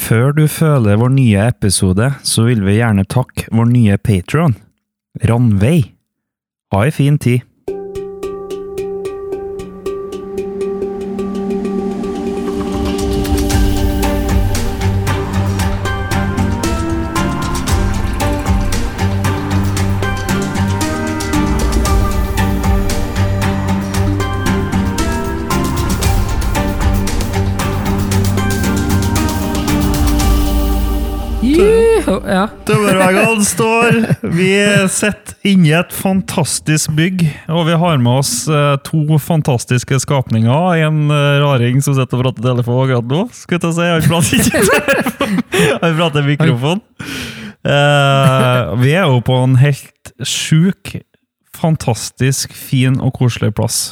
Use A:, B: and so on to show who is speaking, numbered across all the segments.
A: Før du føler vår nye episode, så vil vi gjerne takke vår nye patron, Ranveig. Ha ei en fin tid.
B: Juhu! Ja.
A: Tømmerveggene står. Vi sitter inni et fantastisk bygg, og vi har med oss eh, to fantastiske skapninger. En eh, raring som sitter og prater telefon akkurat nå. Skulle til å si, han prater ikke telefon. Han prater mikrofon. Eh, vi er jo på en helt sjuk, fantastisk fin og koselig plass.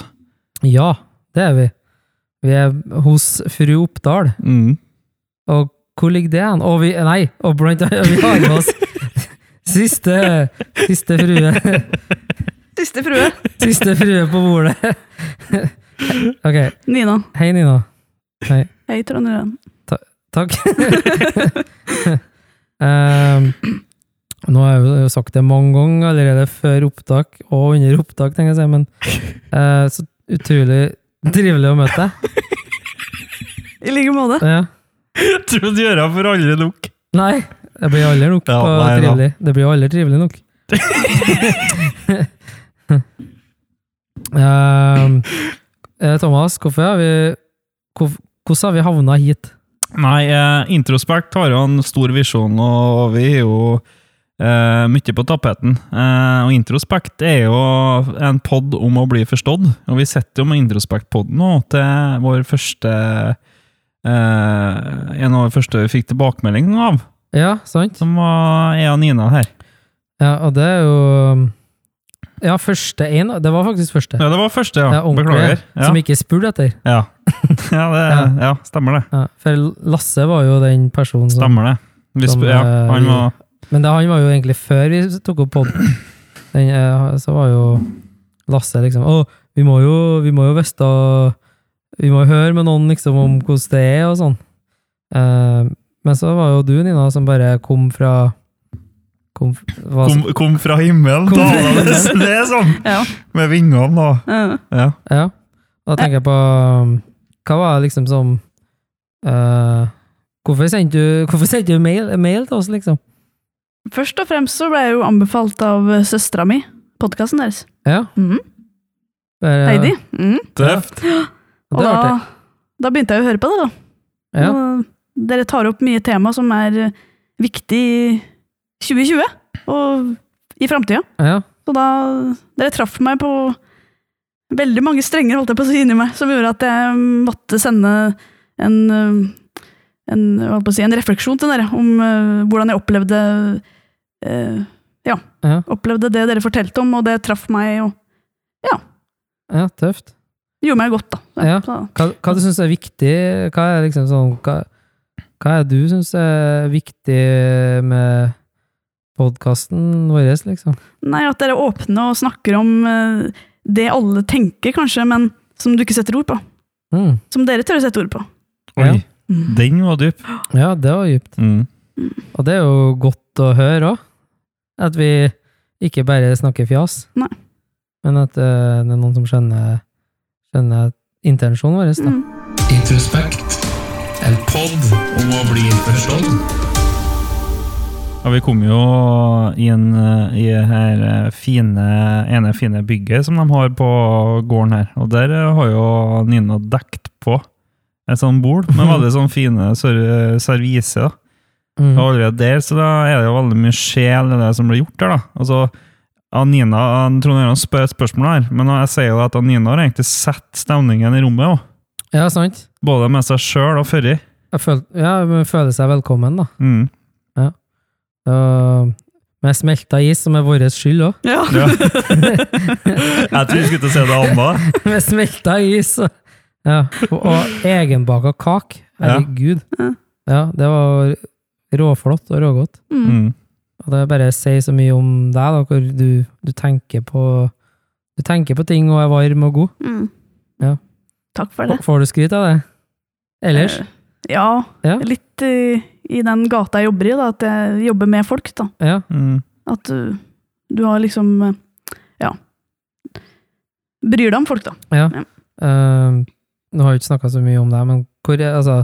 B: ja, det er vi. Vi er hos fru Oppdal.
A: Mm.
B: Og hvor ligger det hen? Og vi, nei, og blant annet vi har med oss siste, siste frue.
C: Siste frue.
B: Siste frue på bordet. Ok,
C: Nina.
B: hei Nina.
C: Hei, Trondheim.
B: Takk. Um, nå har jeg jo sagt det mange ganger allerede før opptak og under opptak, tenker jeg å si, men eh, så utrolig trivelig å møte deg.
C: I like måte.
B: Ja.
A: Jeg trodde døra for aldri lukk.
B: Nei, det blir aldri nok
A: Ja,
B: på
A: nei da.
B: trivelig. Det blir aldri trivelig nok. Ehm, eh, Thomas, hvorfor har vi hvor- Hvordan har vi havna hit?
A: Nei, eh, Introspect har jo en stor visjon, og vi er jo eh, mye på tapeten. Eh, og Introspect er jo en pod om å bli forstått, og vi sitter jo med Introspect-podden nå til vår første eh, En av de første vi fikk tilbakemelding av,
B: Ja, sant?
A: som var jeg og Nina her.
B: Ja, og det er jo Ja, første én. Det var faktisk første.
A: Ja, det var første, ja.
B: Ja, onkel,
A: Beklager. Ja,
B: Som ikke spurte etter.
A: ja. ja, det, ja, stemmer det.
B: Ja, for Lasse var jo den personen som
A: Stemmer det. Vi
B: Som,
A: sp ja,
B: eh,
A: han
B: vi-
A: var
B: Men det, han var jo egentlig før vi tok opp podden. Den, eh, så var jo Lasse liksom Å, vi må jo, vi må jo veste Vi må jo høre med noen liksom om hvordan det er og sånn. Eh, men så var jo du, Nina, som bare kom fra Kom, f- var,
A: Kom, kom fra himmelen,
B: Kom fra
A: da! Det er sånn!
C: Ja.
A: Med vingene, da.
C: Eh,
A: Ja.
B: Ja. Da tenker jeg på um, Hva var det liksom som eh, Hvorfor sendte du, hvorfor sendte du mail, mail til oss, liksom?
C: Først og fremst så ble jeg jo anbefalt av søstera mi, podkasten deres.
B: Ja,
C: Mhm.
B: bare-
C: Heidi. Mhm.
A: Tøft.
B: Det var
C: Og da,
B: artig.
C: da begynte jeg å høre på det, da.
B: Ja.
C: Og dere tar opp mye tema som er eh, viktig i 2020 og i framtida.
B: Ja.
C: Så da Dere traff meg på veldig mange strenger, holdt jeg på å si, inni meg, som gjorde at jeg mm, måtte sende en eh, en, jeg holdt på å si, en refleksjon til dere om eh, hvordan jeg opplevde eh, ja,
B: Ja.
C: opplevde det dere fortalte om, og det traff meg og
B: ja, tøft.
C: gjorde meg godt. da.
B: Ja.
C: Så,
B: Hva, hva du syns er viktig? Hva er liksom sånn Hva, hva er du syns er viktig med podkasten vår, liksom?
C: nei, At dere er åpne og snakker om eh, det alle tenker, kanskje, men som du ikke setter ord på.
B: Mm.
C: Som dere tør å sette ord på.
A: Oi,
C: Mm.
A: den var dyp.
B: Ja, det var dypt.
A: Mm.
B: Og det er jo godt å høre òg. At vi ikke bare snakker fjas.
C: Nei.
B: Men at eh, det er noen som skjønner, skjønner intensjonen vår. Da.
C: Mm.
D: Introspekt. En pod om å bli forstått.
A: Ja, vi kom jo i, en, eh, i det her eh, fine, ene fine bygget som de har på gården her. Og der eh, har jo Nina dekt på et sånt bord med veldig sånn fine ser- servise. da.
B: Mm.
A: Og allerede der så da er det jo veldig mye sjel i det som blir gjort der. da. Altså, Anina, Trond-Jørgen spør et spørsmål her, men jeg sier jo at Nina har egentlig sett stemningen i rommet. Også.
B: Ja, sant?
A: Både med seg sjøl og forrige.
B: Jeg føl, ja, men føler seg velkommen, da.
A: Mm.
B: Og med smelta is, som er vår skyld òg.
C: Ja.
A: Ja. jeg tror vi skulle til å se det annet.
B: med smelta is. og- Ja. Og, og egenbaka kake. Herregud.
C: Ja.
B: Ja, det var råflott og rågodt.
C: Mm.
A: Mm.
B: Og det bare sier så mye om deg, da, hvor du, du tenker på du tenker på ting og er varm og god.
C: Mm.
B: Ja.
C: Takk for det.
B: Får du skryt av det? Ellers?
C: Eh, Ja,
B: Ja.
C: litt i, i den gata jeg jobber i, da, at jeg jobber med folk. da.
B: Ja.
A: Mm.
C: At du, du har liksom eh, Ja. Bryr deg om folk, da.
B: ja.
C: Ja.
B: Ehm, nå har vi ikke snakka så mye om deg, men hvor er Altså,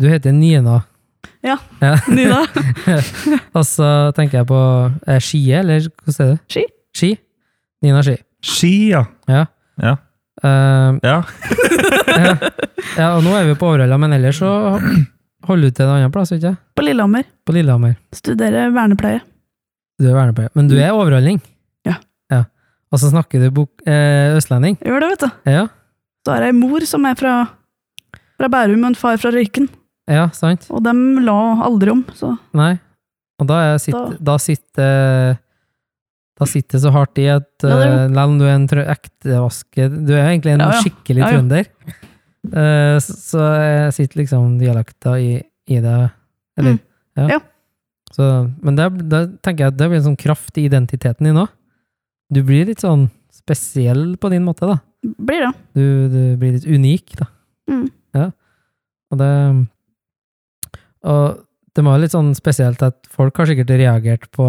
B: du heter Nina.
C: Nina.
B: Altså, tenker jeg på er Skie, eller hvordan er det?
C: Ski.
B: Ski? Nina Ski.
A: Ski, ja.
B: Ja.
A: Ja.
B: Ehm,
A: ja.
B: ja. ja, og nå er vi på Århølla, men ellers så holder du til en annen plass, ikke sant?
C: På Lillehammer.
B: På Lillehammer.
C: Studerer vernepleie.
B: Du er vernepleier. Men du er overholdning?
C: Ja.
B: ja. Og så snakker du bok eh, østlending?
C: Jeg gjør det, vet du.
B: Ja,
C: Så har jeg ei mor som er fra, fra Bærum, og en far fra Røyken.
B: ja, sant?
C: Og dem la aldri om, så
B: Nei. Og da, er sitt, da. sitter Da sitter det så hardt i at
C: Ja, det
B: eh,
C: er
B: Selv om du er en trø- ekte vaske Du er egentlig en
C: Ja, ja.
B: skikkelig
C: Ja, ja.
B: trønder. Eh, så, så jeg sitter liksom dialekta i, i det. Eller,
C: Mm. Ja.
B: Så, men da tenker jeg at det blir en sånn kraft i identiteten din òg. Du blir litt sånn spesiell på din måte, da.
C: blir det.
B: Du, du blir litt unik, da.
C: Mm.
B: Og det Og det var jo litt sånn spesielt at folk har sikkert reagert på,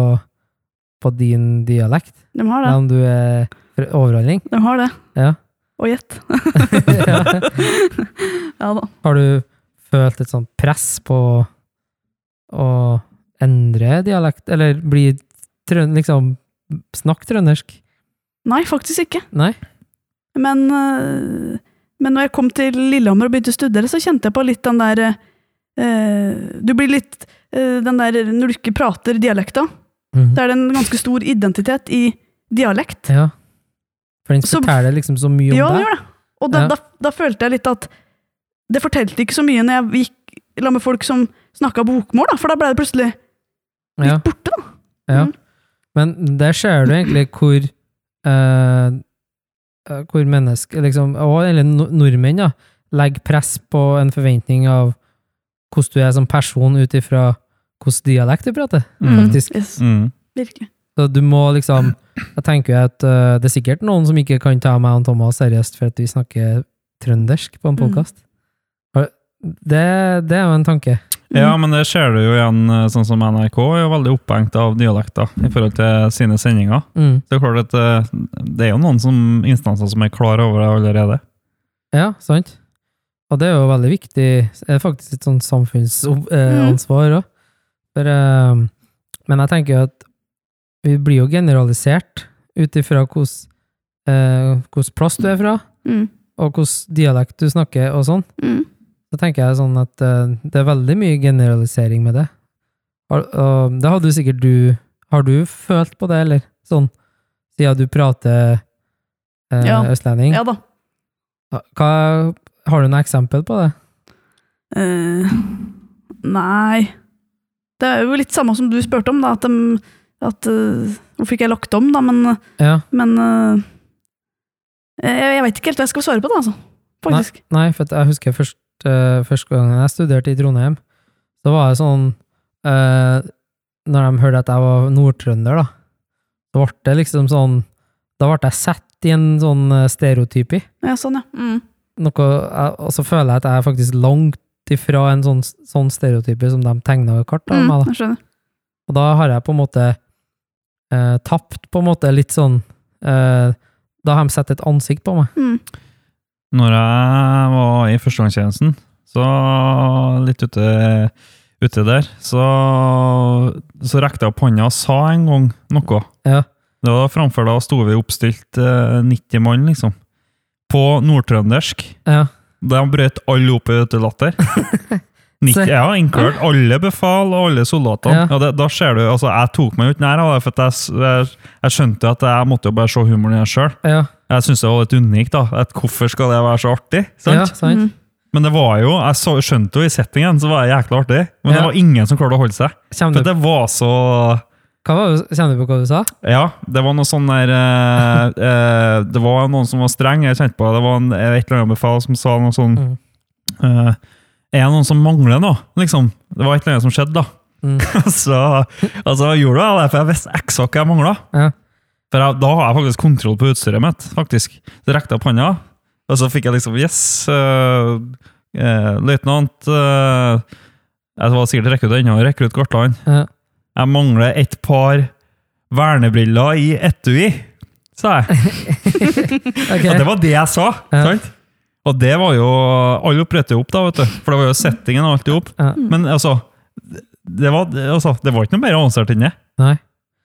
B: på din dialekt,
C: De har det.
B: selv om du er fra overholdning.
C: De har det.
B: Ja.
C: Og gjett.
B: ja.
C: Ja da.
B: Har du følt et sånt press på å endre dialekt, eller bli trøn, liksom Snakk trøndersk?
C: Nei, faktisk ikke.
B: Nei?
C: Men, øh, men når jeg kom til Lillehammer og begynte å studere, så kjente jeg på litt den der øh, Du blir litt øh, den der Når du ikke prater dialekta,
B: Mhm.
C: så er det en ganske stor identitet i dialekt.
B: Ja. For den
C: Så-
B: forteller liksom så mye om
C: Ja, det
B: deg.
C: gjør det. Og da,
B: Ja.
C: da, da følte jeg litt at det fortalte ikke så mye når jeg gikk la med folk som snakka bokmål, da, for da ble det plutselig litt
B: Ja.
C: borte, da.
B: Ja.
C: Mhm.
B: Men der ser du egentlig hvor eh, eh, Hvor mennesker, liksom, og, eller no- nordmenn, da, legger press på en forventning av hvordan du er som person ut ifra hvilken dialekt du prater,
A: Mm.
B: faktisk.
C: Yes,
A: Mm.
C: virkelig.
B: Så du må liksom Jeg tenker jo at eh, det er sikkert noen som ikke kan ta meg og Thomas seriøst for at vi snakker trøndersk på en
C: Mm.
B: podkast. Det, det er jo en tanke.
A: Ja, men det ser du jo igjen, eh, sånn som NRK er jo veldig opphengt av dialekter i forhold til sine sendinger.
B: Mm.
A: Det er klart at eh, det er jo noen som, instanser som er klar over det allerede.
B: Ja, sant. Og det er jo veldig viktig. Det er faktisk et sånn
C: Mm.
B: samfunnsansvar òg. For eh, Men jeg tenker jo at vi blir jo generalisert ut ifra hvilken plass du er fra,
C: Mm.
B: og hvilken dialekt du snakker, og sånn.
C: Mm.
B: Så tenker jeg sånn at eh, det er veldig mye generalisering med det. Og, og det hadde jo sikkert du Har du følt på det, eller? Sånn siden du prater eh,
C: Ja.
B: østlending?
C: Ja da.
B: Hva, har du noe eksempel på det?
C: Eh, nei Det er jo litt samme som du spurte om, da. At, dem- at eh, Hvorfor ikke jeg lagt om, da, men,
B: Ja,
C: men eh, Jeg, jeg veit ikke helt hva jeg skal svare på, da, altså. Faktisk.
B: Nei, for at jeg husker først, eh, første gangen jeg studerte i Trondheim, så var det sånn eh, Når de hørte at jeg var nordtrønder, da, så ble det liksom sånn Da ble jeg satt i en sånn eh, stereotypi.
C: Ja, sånn, ja. Mm.
B: Noe, jeg, og så føler jeg at jeg er faktisk langt ifra en sånn, sånn stereotype som de tegna kart av
C: Mm,
B: meg. da.
C: jeg skjønner.
B: Og da har jeg på en måte eh, tapt på en måte litt sånn eh, Da har de satt et ansikt på meg.
C: Mm.
A: Når jeg var i førstegangstjenesten, så litt ute, ute der, så, så rekte jeg opp hånda og sa en gang noe.
B: Ja.
A: Det var framfor da sto vi oppstilt eh, 90 mann, liksom. På nordtrøndersk.
B: Ja.
A: De brøt alle opp i ute latter. Nitt,
B: Se.
A: ja, inkludert alle befal og alle soldatene.
B: Ja.
A: Ja, det, da ser du, altså, Jeg tok meg jo ikke nær av det, for at jeg, s- jeg, jeg skjønte jo at jeg måtte jo bare se humoren i det sjøl.
B: Ja,
A: Jeg syns det var litt unikt. da, at Hvorfor skal det være så artig? sant?
B: ja sant?
C: Mm.
A: Men det var jo, jeg så, skjønte jo i settingen, så var det jækla artig. Men
B: Ja.
A: det var ingen som klarte å holde seg.
B: Kjenner
A: For
B: du,
A: det var så
B: hva var, det- kjenner du på hva du sa?
A: Ja, det var noe sånn der eh, eh, Det var noen som var streng, jeg kjente på det. Det var en, et eller annet befal som sa noe sånn
B: Mm.
A: eh, Er det noen som mangler noe? Liksom. Det var et eller annet som skjedde, da.
B: Mm.
A: så altså, jeg gjorde jeg det, for jeg visste eksakt hva jeg mangla.
B: Ja.
A: For jeg, da har jeg faktisk kontroll på utstyret mitt, faktisk. Så rekte jeg opp hånda, og så fikk jeg liksom Yes! eh, Eh, Løytnant eh, Jeg var sikkert rekrutt ennå, rekrutt Gartland.
B: Ja.
A: Jeg mangler et par vernebriller i etui, sa jeg.
B: Ok.
A: Ja, det var det jeg sa.
B: Ja.
A: Sant? Og det var jo Alle oppretter jo opp, da, vet du. For det var jo settingen og alt i opp.
B: Ja.
A: Men altså det var, altså det var ikke noe mer avansert enn det.
B: Nei.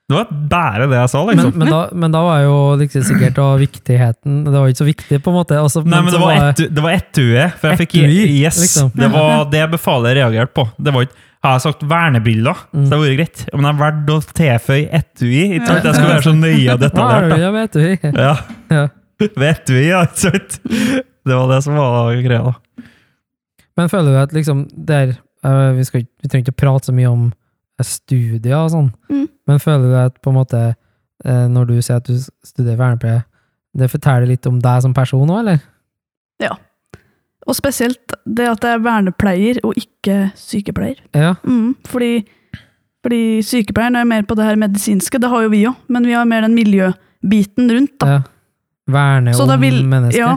A: Det var bare det jeg sa,
B: Men,
A: liksom.
B: men, da, men da var jo liksom sikkert da viktigheten Det var jo ikke så viktig, på en måte. Altså,
A: Nei, men
B: så
A: det var, etu, det var etue. For jeg fikk
B: Etui,
A: Yes.
B: liksom.
A: Det var det befalet reagerte på. Det var ikke Jeg har sagt vernebriller, så
B: Mm.
A: det hadde vært greit. Men jeg valgte å tilføye etui. Ikke sant? Jeg skulle være så nøye og
B: Hva er
A: detaljert.
B: det, jeg vet du?
A: Da. Ja.
B: Ja.
A: Ved etui, ja. Ikke sant? Det var det som var greia, da.
B: Men føler du at liksom der eh, Vi, skal, ikke- vi trenger ikke prate så mye om eh, studier og sånn,
C: Mm.
B: men føler du at på en måte eh, når du sier at du s- studerer vernepleie, det forteller litt om deg som person òg, eller?
C: Og spesielt det at jeg er vernepleier og ikke sykepleier.
B: Ja.
C: Mm, fordi, fordi sykepleieren er mer på det her medisinske, det har jo vi òg, men vi har mer den miljøbiten rundt. da.
B: ja. Verne
C: Så
B: om
C: da vil-
B: mennesker.
C: Ja,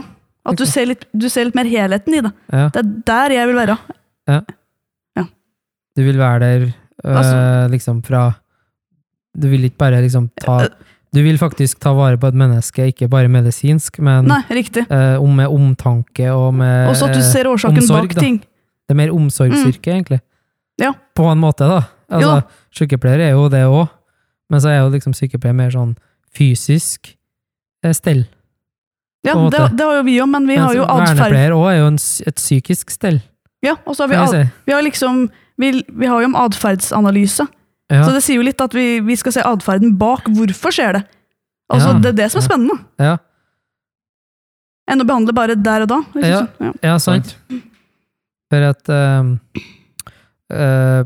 C: at du ser, litt, du ser litt mer helheten i det.
B: Ja.
C: Det er der jeg vil være.
B: Du vil være der eh,
C: Altså- Eh,
B: liksom fra Du vil ikke bare liksom ta Du vil faktisk ta vare på et menneske, ikke bare medisinsk, men
C: Nei, riktig.
B: eh, om med omtanke og med
C: Også at du
B: eh,
C: ser årsaken
B: omsorg,
C: bak
B: da.
C: ting.
B: Det er mer omsorgsyrke, egentlig.
C: Ja.
B: På en måte, da.
C: Jo
B: Altså, sykepleier er jo det òg, men så er jo liksom sykepleier mer sånn fysisk eh, stell.
C: Ja,
B: på en
C: det,
B: måte.
C: det har jo vi òg, men vi
B: Mens
C: har jo atferd.
B: Vernepleier òg er jo en, s- et psykisk stell,
C: Ja, og så har vi,
B: kan
C: ad,
B: jeg si.
C: vi har liksom vi, vi har jo en atferdsanalyse.
B: Ja.
C: Så det sier jo litt at vi, vi skal se atferden bak. Hvorfor skjer det? Altså,
B: Ja.
C: Det er det som er
B: Ja.
C: spennende.
B: Ja.
C: Enn å behandle bare der og da. liksom
B: Ja.
C: sånn. Ja.
B: Ja, sant. For at ehm, eh,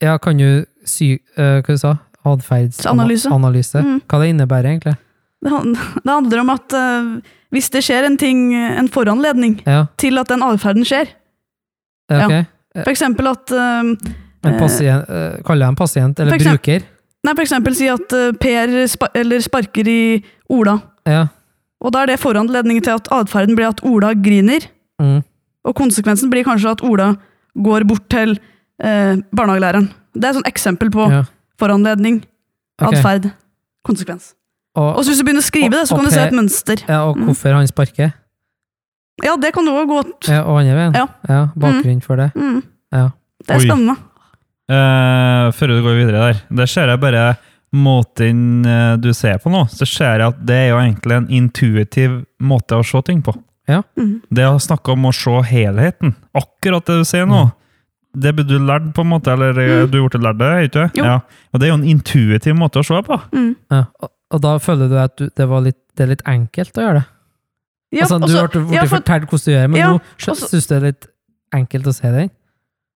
B: Ja, kan du sy... eh, hva du sa du?
C: Analyse.
B: Atferdsanalyse? Analyse.
C: Mm.
B: Hva det innebærer, egentlig?
C: Det, han- det handler om at eh, hvis det skjer en ting, en foranledning
B: Ja,
C: til at den atferden skjer,
B: ja, ok.
C: for eksempel at eh,
B: En
C: Eh,
B: pasient, eh, kaller jeg en pasient, eller
C: for eksempel-
B: bruker?
C: Nei, for eksempel si at eh, Per spa eller sparker i Ola.
B: Ja.
C: Og da er det foranledningen til at atferden blir at Ola griner.
B: Mm.
C: Og konsekvensen blir kanskje at Ola går bort til eh, barnehagelæreren. Det er et sånt eksempel på
B: ja.
C: foranledning,
B: Ok.
C: atferd, konsekvens.
B: Og,
C: Og så hvis du begynner å skrive det, så
B: Og- og
C: kan du se
B: per-
C: et mønster.
B: ja, og hvorfor han sparker?
C: Ja, det kan du òg gå t-
B: Ja, og andre veien?
C: Ja.
B: Bakgrunnen for det.
C: mm.
B: Ja.
C: Det er
A: Oi.
C: spennende.
A: Eh, før du går videre der, der ser jeg bare måten eh, du ser på nå, så ser jeg at det er jo egentlig en intuitiv måte å se ting på.
C: Mm.
A: Det å snakke om å se helheten, akkurat det du sier nå, det burde du lært på en måte, eller eh, du gjorde det lært det, ikke
C: Jo.
A: Ja. Og det er jo en intuitiv måte å se på.
C: Mm.
B: Ja. Og, og da føler du at du, det, var litt, det er litt enkelt å gjøre det?
C: Ja,
B: altså, du
C: også-
B: ble, ble
C: ja, for-
B: fortalt hvordan du gjør det, men
C: Ja,
B: nå
C: også-
B: syns du det er litt enkelt å se den?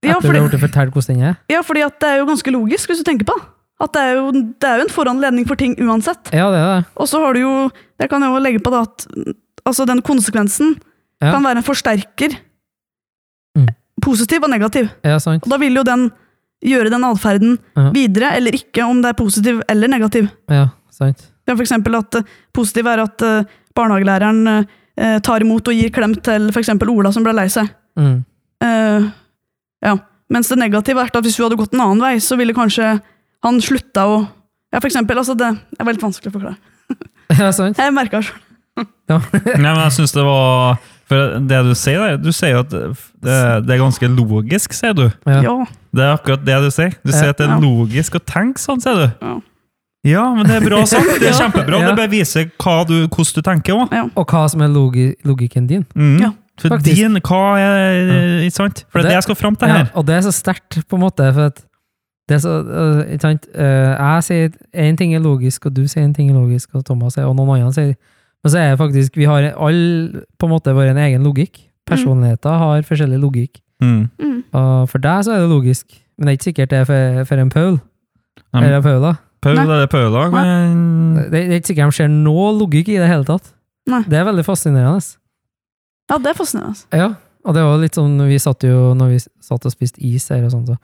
C: ja,
B: Etter du
C: fordi,
B: har blitt fortalt hvordan den er?
C: ja, fordi at det er jo ganske logisk, hvis du tenker på det. At det er, jo, det er jo en foranledning for ting uansett.
B: Ja, det er det.
C: Og så har du jo Jeg kan jo legge på da at mm, altså, den konsekvensen
B: Ja.
C: kan være en forsterker.
B: Mm.
C: Positiv og negativ.
B: Ja, sant.
C: Og da vil jo den gjøre den atferden
B: Ja.
C: videre, eller ikke, om det er positiv eller negativ.
B: Ja, sant.
C: Ja, for eksempel at eh, positiv er at eh, barnehagelæreren eh, tar imot og gir klem til for eksempel Ola som ble lei seg.
B: Mm.
C: Eh, ja. Mens det negative er at hvis hun hadde gått en annen vei, så ville kanskje han slutta å Ja, for eksempel. Altså, det det var litt vanskelig å forklare.
B: Ja, sant.
C: Jeg merka det sjøl.
A: Nei, men jeg synes det var For det du sier der, du sier jo at det, det er ganske logisk, sier du.
B: Ja.
C: Ja.
A: Det er akkurat det du sier. Du sier at det
C: Ja.
A: er logisk å tenke sånn, sier du.
C: Ja.
A: Ja, men det er bra sagt. Det er kjempebra.
B: Ja.
A: Det bare viser hva du, hvordan du tenker òg.
B: Og hva som er logi logikken din.
A: Mm.
C: Ja,
A: For
B: faktisk.
A: din, hva er Ikke sant? For det er det jeg skal fram til
B: Ja,
A: her.
B: og det er så sterkt, på en måte. For at det er så, øh, ikke sant? Øh, jeg sier én ting er logisk, og du sier én ting er logisk, og Thomas sier, og noen andre sier Men så er det faktisk Vi har alle på en måte vår egen logikk. Personligheter har forskjellig logikk.
A: Mm.
C: Mm.
B: Og for deg så er det logisk, men det er ikke sikkert det er for, for en Paul.
A: Nei, men-
B: Eller Paula.
A: Paul
C: Nei.
A: eller Paula, men
B: Det, det er ikke sikkert de ser noe logikk i det hele tatt.
C: Nei.
B: Det er veldig fascinerende.
C: Ja, det er fascinerende. altså.
B: Ja, og det var litt sånn, vi satt jo, når vi satt og spiste is her og sånn, så,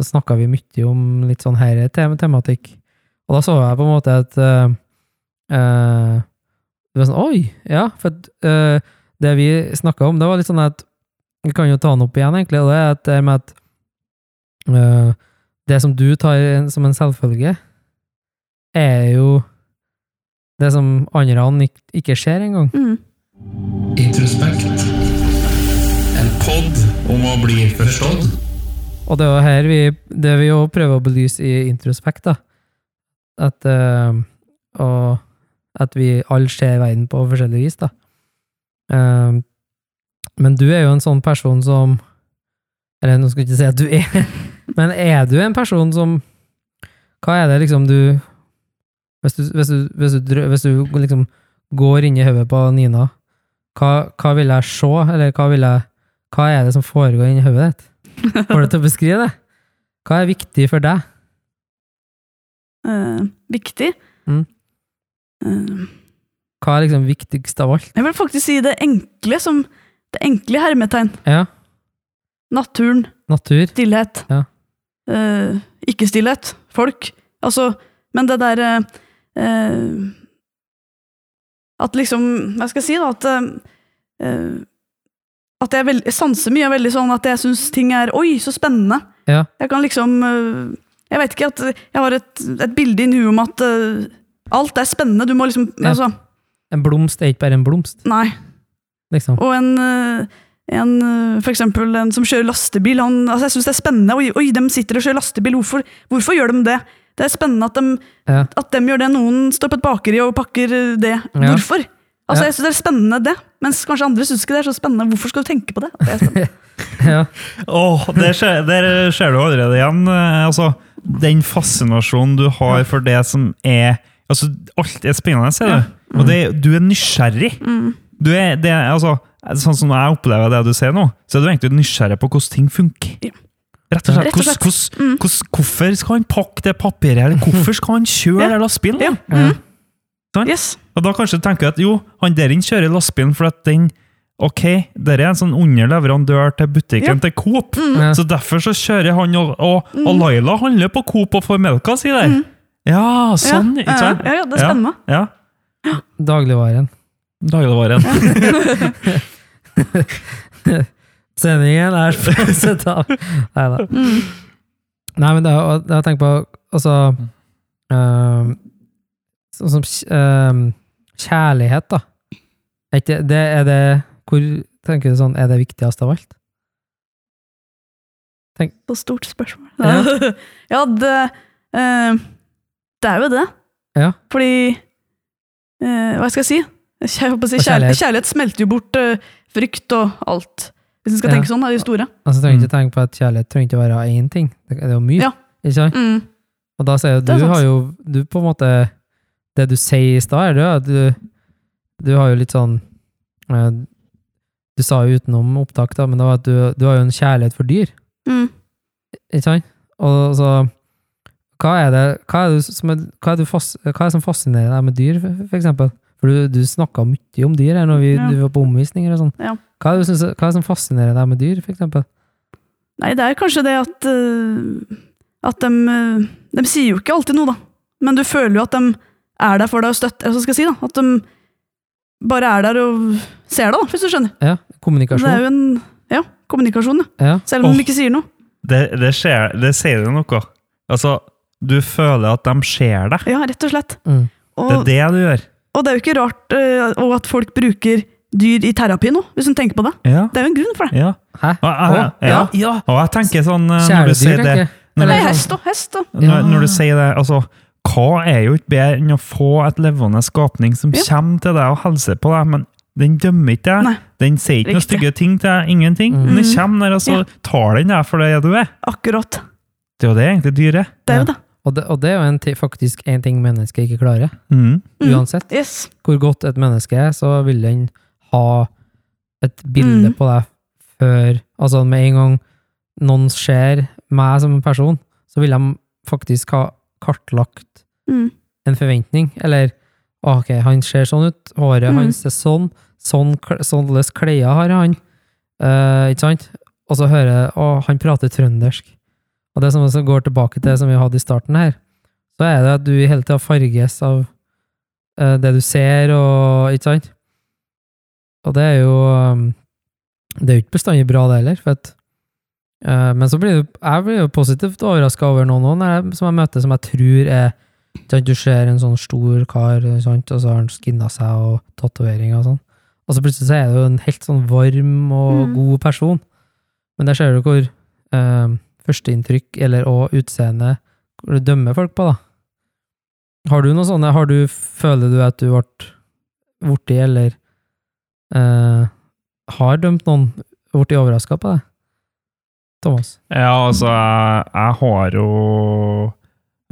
B: så snakka vi mye om litt sånn her tem tematikk. Og da så jeg på en måte at eh, eh, Det var sånn Oi! Ja, for at, eh, det vi snakka om, det var litt sånn at Vi kan jo ta den opp igjen, egentlig, og det er at det med at øh, det som du tar en- som en selvfølge, er jo det som andre han ikke, ikke ser engang.
C: Mm.
D: Introspekt. En pod om å bli forstått.
B: Og det er jo her vi, det vi jo prøver å belyse i introspekt, da. At, eh, og, at vi alle ser verden på forskjellig vis, da. Eh, men du er jo en sånn person som Eller nå skal jeg ikke si at du er, men er du en person som Hva er det liksom du Hvis du, hvis du, hvis du, drø- hvis du liksom går inn i hodet på Nina, hva, hva vil jeg se, eller hva, vil jeg, hva er det som foregår inni hodet ditt? Får deg til å beskrive det. Hva er viktig for deg?
C: Eh, viktig.
B: Mm.
C: Eh,
B: Hva er liksom viktigst av alt?
C: jeg vil faktisk si det enkle som det enkle i hermetegn.
B: Ja,
C: Naturen,
B: natur.
C: stillhet.
B: Ja.
C: Eh, ikke stillhet. Folk. Altså, men det der eh, eh, At liksom Hva skal jeg si, da? At eh, eh, at jeg, vel- jeg sanser mye. Jeg er veldig sånn at jeg syns ting er Oi, så spennende!
B: Ja.
C: Jeg kan liksom eh, Jeg vet ikke at Jeg har et, et bilde i huet om at eh, alt er spennende. Du må liksom
B: Ja.
C: altså,
B: En blomst er ikke bare en blomst,
C: Nei.
B: liksom.
C: Og en, eh, en eh, for eksempel en som kjører lastebil, han, altså jeg synes det er spennende. Oi, oi, de sitter og kjører lastebil, hvorfor, hvorfor gjør de det? Det er spennende at de,
B: Ja.
C: at dem gjør det. Noen står på et bakeri og pakker eh, det. Hvorfor? Altså,
B: Ja.
C: Jeg synes det er spennende det, mens kanskje andre synes ikke det er så spennende. Hvorfor skal du tenke på det? det er spennende.
B: Ja,
A: Åh, der ser, der ser du allerede igjen. eh, Altså, den fascinasjonen du har for det som er altså, Alt er spennende, ser du. Og det, du er nysgjerrig.
C: Mm.
A: Du er, det, er, altså, sånn som jeg opplever det du sier nå, så er du egentlig nysgjerrig på hvordan ting funker.
C: Ja.
A: Rett og slett.
C: Rett og slett.
A: hvordan-
C: Mm.
A: hvordan- hvordan- hvorfor skal han pakke det papiret, eller hvorfor skal han kjøre
C: Ja.
A: lastebilen?
C: Ja.
B: Mhm.
A: Sant?
C: Yes.
A: Og da kanskje tenker jeg at jo, han der inne kjører lastebilen for at den Ok, der er en sånn underleverandør til butikken til
C: Mm.
A: Coop,
B: Ja.
A: så derfor så kjører han og, og, og Laila handler på Coop og får melka si der. Ja, sånn,
C: ja,
A: ikke sant?
C: ja, ja, det er spennende.
A: Ja,
B: dagligvaren.
A: ja. dagligvaren.
B: Sendingen er sponset av Nei da.
C: Mm.
B: Nei, men det er jo- det er å tenke på Altså øhm, Sånn som kj- øhm, kjærlighet, da. Er ikke det Er det Hvor tenker du sånn Er det viktigst av alt?
C: Så stort spørsmål.
B: Ja.
C: Ja, det, eh, det er jo det.
B: Ja.
C: Fordi eh, Hva skal jeg si? Jeg holdt på å si
B: Og
C: kjærlighet.
B: kjærlighet.
C: kjærlighet smelter jo bort eh, frykt og alt. Hvis en skal
B: Ja.
C: tenke sånn, da, i det store.
B: Altså, trenger ikke tenke på at kjærlighet trenger ikke være én ting. Det er jo mye.
C: Ja.
B: Ikke sant?
C: Mm.
B: Og da sier jo du
C: Det er sant.
B: har jo Du på en måte Det du sier i stad, er det at du Du har jo litt sånn eh, Du sa jo utenom opptak, da, men det var at du, du har jo en kjærlighet for dyr.
C: Mm.
B: Ikke sant? Og så Hva er det Hva er det som, er, hva er det fas, hva er det som fascinerer deg med dyr, for, for eksempel? For du, du snakka mye om dyr her når vi
C: Ja.
B: du var på omvisninger og sånn.
C: Ja.
B: Hva, er det du synes, hva er det som fascinerer deg med dyr, for eksempel?
C: Nei, det er kanskje det at eh, At de eh, De sier jo ikke alltid noe, da. Men du føler jo at de er der for deg og støtter Hva skal jeg si, da? At de bare er der og ser deg, da, hvis du skjønner.
B: Ja,
C: Det er
B: kommunikasjon.
C: jo en Ja, kommunikasjon, ja.
B: Ja.
C: Selv om
A: Åh.
C: de ikke sier noe.
A: Det, det, skjer, det sier det noe. Altså, du føler at de ser deg.
C: Ja, rett og slett.
B: Mm.
C: Og,
A: Det er det du gjør.
C: og det er jo ikke rart eh, og at folk bruker dyr i terapi nå, hvis du tenker på det.
A: Ja,
C: Det er jo en grunn for det.
A: ja.
B: Hæ?
A: Og jeg,
B: Å, ja.
A: Ah, ja. Og jeg tenker sånn eh, når du
B: Kjæledyr,
A: sier det sånn-
B: tenker jeg.
A: når
C: Nei,
A: du-
C: hest og hest og
A: Når,
B: Ja.
A: når du sier det, altså Hva er jo ikke bedre enn å få et levende skapning som
C: Ja.
A: kommer til deg og hilser på deg, men den dømmer ikke
C: Nei.
A: deg. Den sier ikke noen
C: Riktig.
A: stygge ting til deg. Ingenting.
B: Mm.
A: Men den kommer der, og så
C: Ja.
A: tar den deg for det du er.
C: akkurat.
A: Det er jo det egentlig dyret.
C: Det er jo det.
B: Og det, og det er jo en ti- faktisk en ting mennesket ikke klarer.
A: Mm.
C: Mm.
B: Uansett
C: Yes.
B: hvor godt et menneske er, så vil den ha et bilde
C: Mm.
B: på deg før Altså med en gang noen ser meg som en person, så vil de faktisk ha kartlagt
C: Mm.
B: en forventning. Eller ok, han ser sånn ut, håret
C: Mm.
B: hans er sånn, sånn kl- sånnes klær har han. Eh, ikke sant? Og så hører jeg å, han prater trøndersk. Og det som også går tilbake til det som vi hadde i starten her, så er det at du hele tida farges av eh, det du ser, og ikke sant? Og det er jo um, Det er jo ikke bestandig bra, det heller. For at, eh, men så blir det, jeg blir jo positivt overraska over noen også, når jeg- som jeg møter som jeg tror er ikke sant, Du ser en sånn stor kar, ikke sant, og så har han skinna seg og tatoveringer og sånn. Og så plutselig så er det jo en helt sånn varm og
C: Mm.
B: god person. Men der ser du hvor eh, førsteinntrykk eller og utseende hvor du dømmer folk på, da. Har du noen sånne har du, Føler du at du ble borti eller eh, har dømt noen blitt overraska på deg? Thomas?
A: Ja, altså, jeg, jeg har jo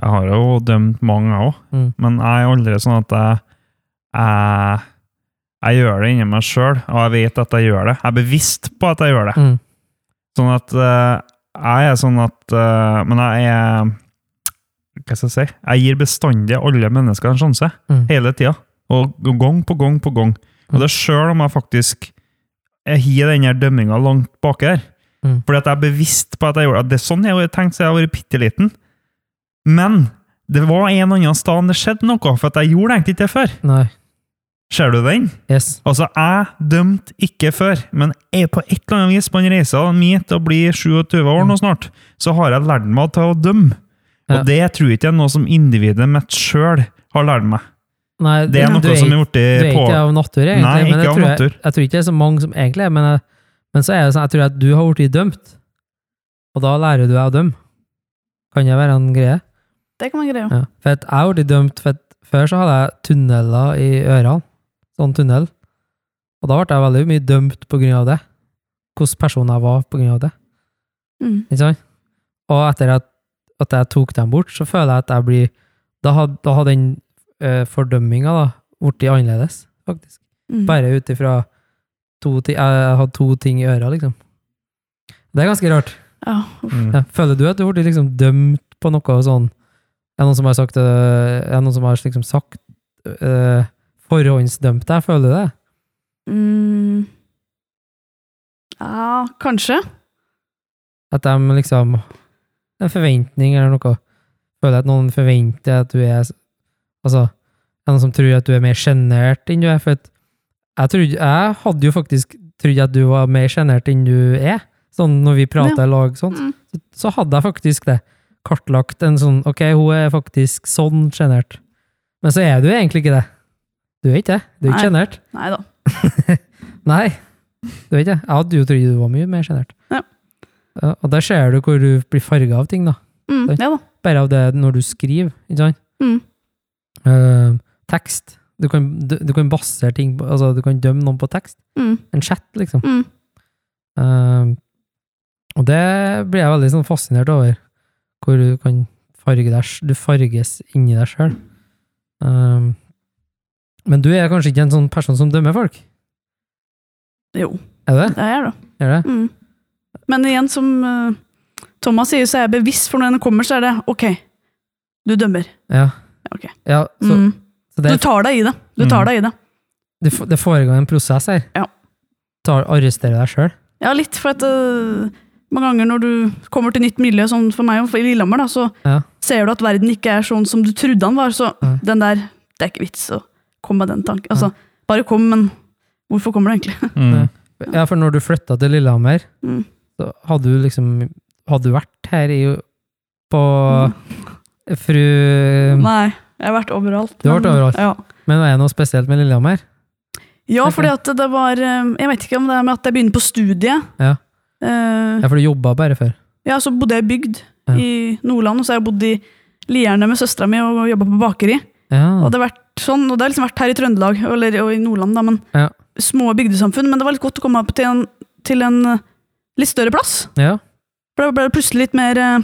A: Jeg har jo dømt mange òg,
B: Mm.
A: men jeg er aldri sånn at jeg Jeg, jeg gjør det inni meg sjøl, og jeg vet at jeg gjør det. Jeg er bevisst på at jeg gjør det.
B: Mm.
A: Sånn at eh, Jeg er sånn at eh, Men jeg er Hva skal jeg si? Jeg gir bestandig alle mennesker en sjanse.
B: Mm.
A: Hele tida. Og gang på gang på gang. Og det er sjøl om jeg faktisk Jeg hiver den her dømminga langt baki her.
B: Mm.
A: Fordi at jeg er bevisst på at jeg gjorde det. det. er Sånn jeg har tenkt siden jeg har vært bitte liten. Men det var en annen sted det skjedde noe, for at jeg gjorde egentlig ikke det før.
B: Nei.
A: Ser du den?
B: Yes.
A: Altså, jeg dømte ikke før, men jeg på et eller annet vis på en reise min til å bli 27 år nå snart, så har jeg lært meg til å dømme. Og
B: Ja.
A: det tror jeg ikke er noe som individet mitt sjøl har lært meg.
B: Nei,
A: Det er
B: du-
A: noe
B: du
A: som
B: er
A: er
B: Du
A: blitt
B: er
A: på
B: ikke av natur, egentlig.
A: Nei,
B: men
A: ikke
B: jeg
A: av
B: tror jeg,
A: natur.
B: Jeg tror ikke det er så mange som egentlig er men, jeg- men så er det sånn, jeg tror at du har blitt dømt, og da lærer du deg å dømme. Kan det være en greie?
C: Det kan man greie.
B: Ja. For at jeg ble dømt, for at før så hadde jeg tunneler i ørene, sånn tunnel, og da ble jeg veldig mye dømt på grunn av det. Hvordan person jeg var på grunn av det.
C: Mm.
B: Ikke sant? Og etter at, at jeg tok dem bort, så føler jeg at jeg blir Da har, da har den uh, fordømminga blitt annerledes, faktisk.
C: Mm.
B: Bare ut ifra to ting Jeg hadde to ting i øra, liksom. Det er ganske rart.
C: Ja.
A: Mm.
B: Ja. Føler du at du ble liksom dømt på noe sånn Er det noen som har sagt øh, Er det noen som har liksom sagt øh, Forhåndsdømt deg? Føler du det?
C: Mm. ja, kanskje.
B: At de liksom En forventning eller noe. Føler at noen forventer at du er Altså, det er noen som tror at du er mer sjenert enn du er. For at jeg, trodde, jeg hadde jo faktisk trodd at du var mer sjenert enn du er. Sånn når vi prater i lag, sånt.
C: Mm.
B: Så, så hadde jeg faktisk det. Kartlagt en sånn Ok, hun er faktisk sånn sjenert. Men så er du egentlig ikke det. Du er ikke det. Du er ikke
C: Nei.
B: sjenert.
C: Nei da.
B: Nei, du vet ikke. Jeg hadde jo trodd du var mye mer sjenert.
C: Ja.
B: Ja, Og der ser du hvor du blir farga av ting, da.
C: Mm.
B: Oi.
C: Ja da.
B: Bare av det når du skriver, ikke sant?
C: Mm.
B: Eh, tekst. Du kan, du, du kan basere ting på Altså, du kan dømme noen på tekst.
C: Mm.
B: En chat, liksom.
C: Mm.
B: Eh, og det blir jeg veldig sånn fascinert over. Hvor du kan farge deg sj- Du farges inni deg sjøl. men du er kanskje ikke en sånn person som dømmer folk?
C: Jo,
B: Er du det?
C: det er det.
B: Er det?
C: Mm. Men igjen, som eh, Thomas sier, så er jeg bevisst, for når den kommer, så er det ok, du dømmer.
B: Ja.
C: Ok.
B: ja så,
C: Mm.
B: så
C: Du
B: det,
C: tar deg i det. Du tar
A: Mm.
C: deg i det.
B: det, f- det foregår en prosess her.
C: Ja.
B: Tar, arresterer deg sjøl.
C: Ja, litt, for at eh, mange ganger når du kommer til nytt miljø, sånn for meg og i Lillehammer, da, så
B: Ja.
C: ser du at verden ikke er sånn som du trodde den var, så
B: Ja.
C: den der, det er ikke vits å komme med den tanken. Altså, bare kom, men hvorfor kommer du egentlig?
A: Mm.
B: Ja, for når du flytta til Lillehammer,
C: Mm.
B: så hadde du liksom Hadde du vært her i På
C: Mm.
B: fru
C: Nei, jeg har vært overalt.
B: Um, Du har vært
C: men-
B: overalt.
C: Ja.
B: Men er det noe spesielt med Lillehammer?
C: Ja,
B: Tenker
C: fordi at det var eh, Jeg vet ikke om det er med at jeg begynner på studiet.
B: Ja.
C: Eh,
B: Ja, for du jobba bare før.
C: ja, så bodde jeg i bygd
B: Ja.
C: i Nordland, og så har jeg bodd i Lierne med søstera mi og jobba på bakeri. Og
B: Ja.
C: det har vært sånn, og det har liksom vært her i Trøndelag, eller og i Nordland, da, men
B: Ja.
C: små bygdesamfunn. Men det var litt godt å komme opp til en, til en eh, litt større plass.
B: ja.
C: For da ble det plutselig litt mer eh,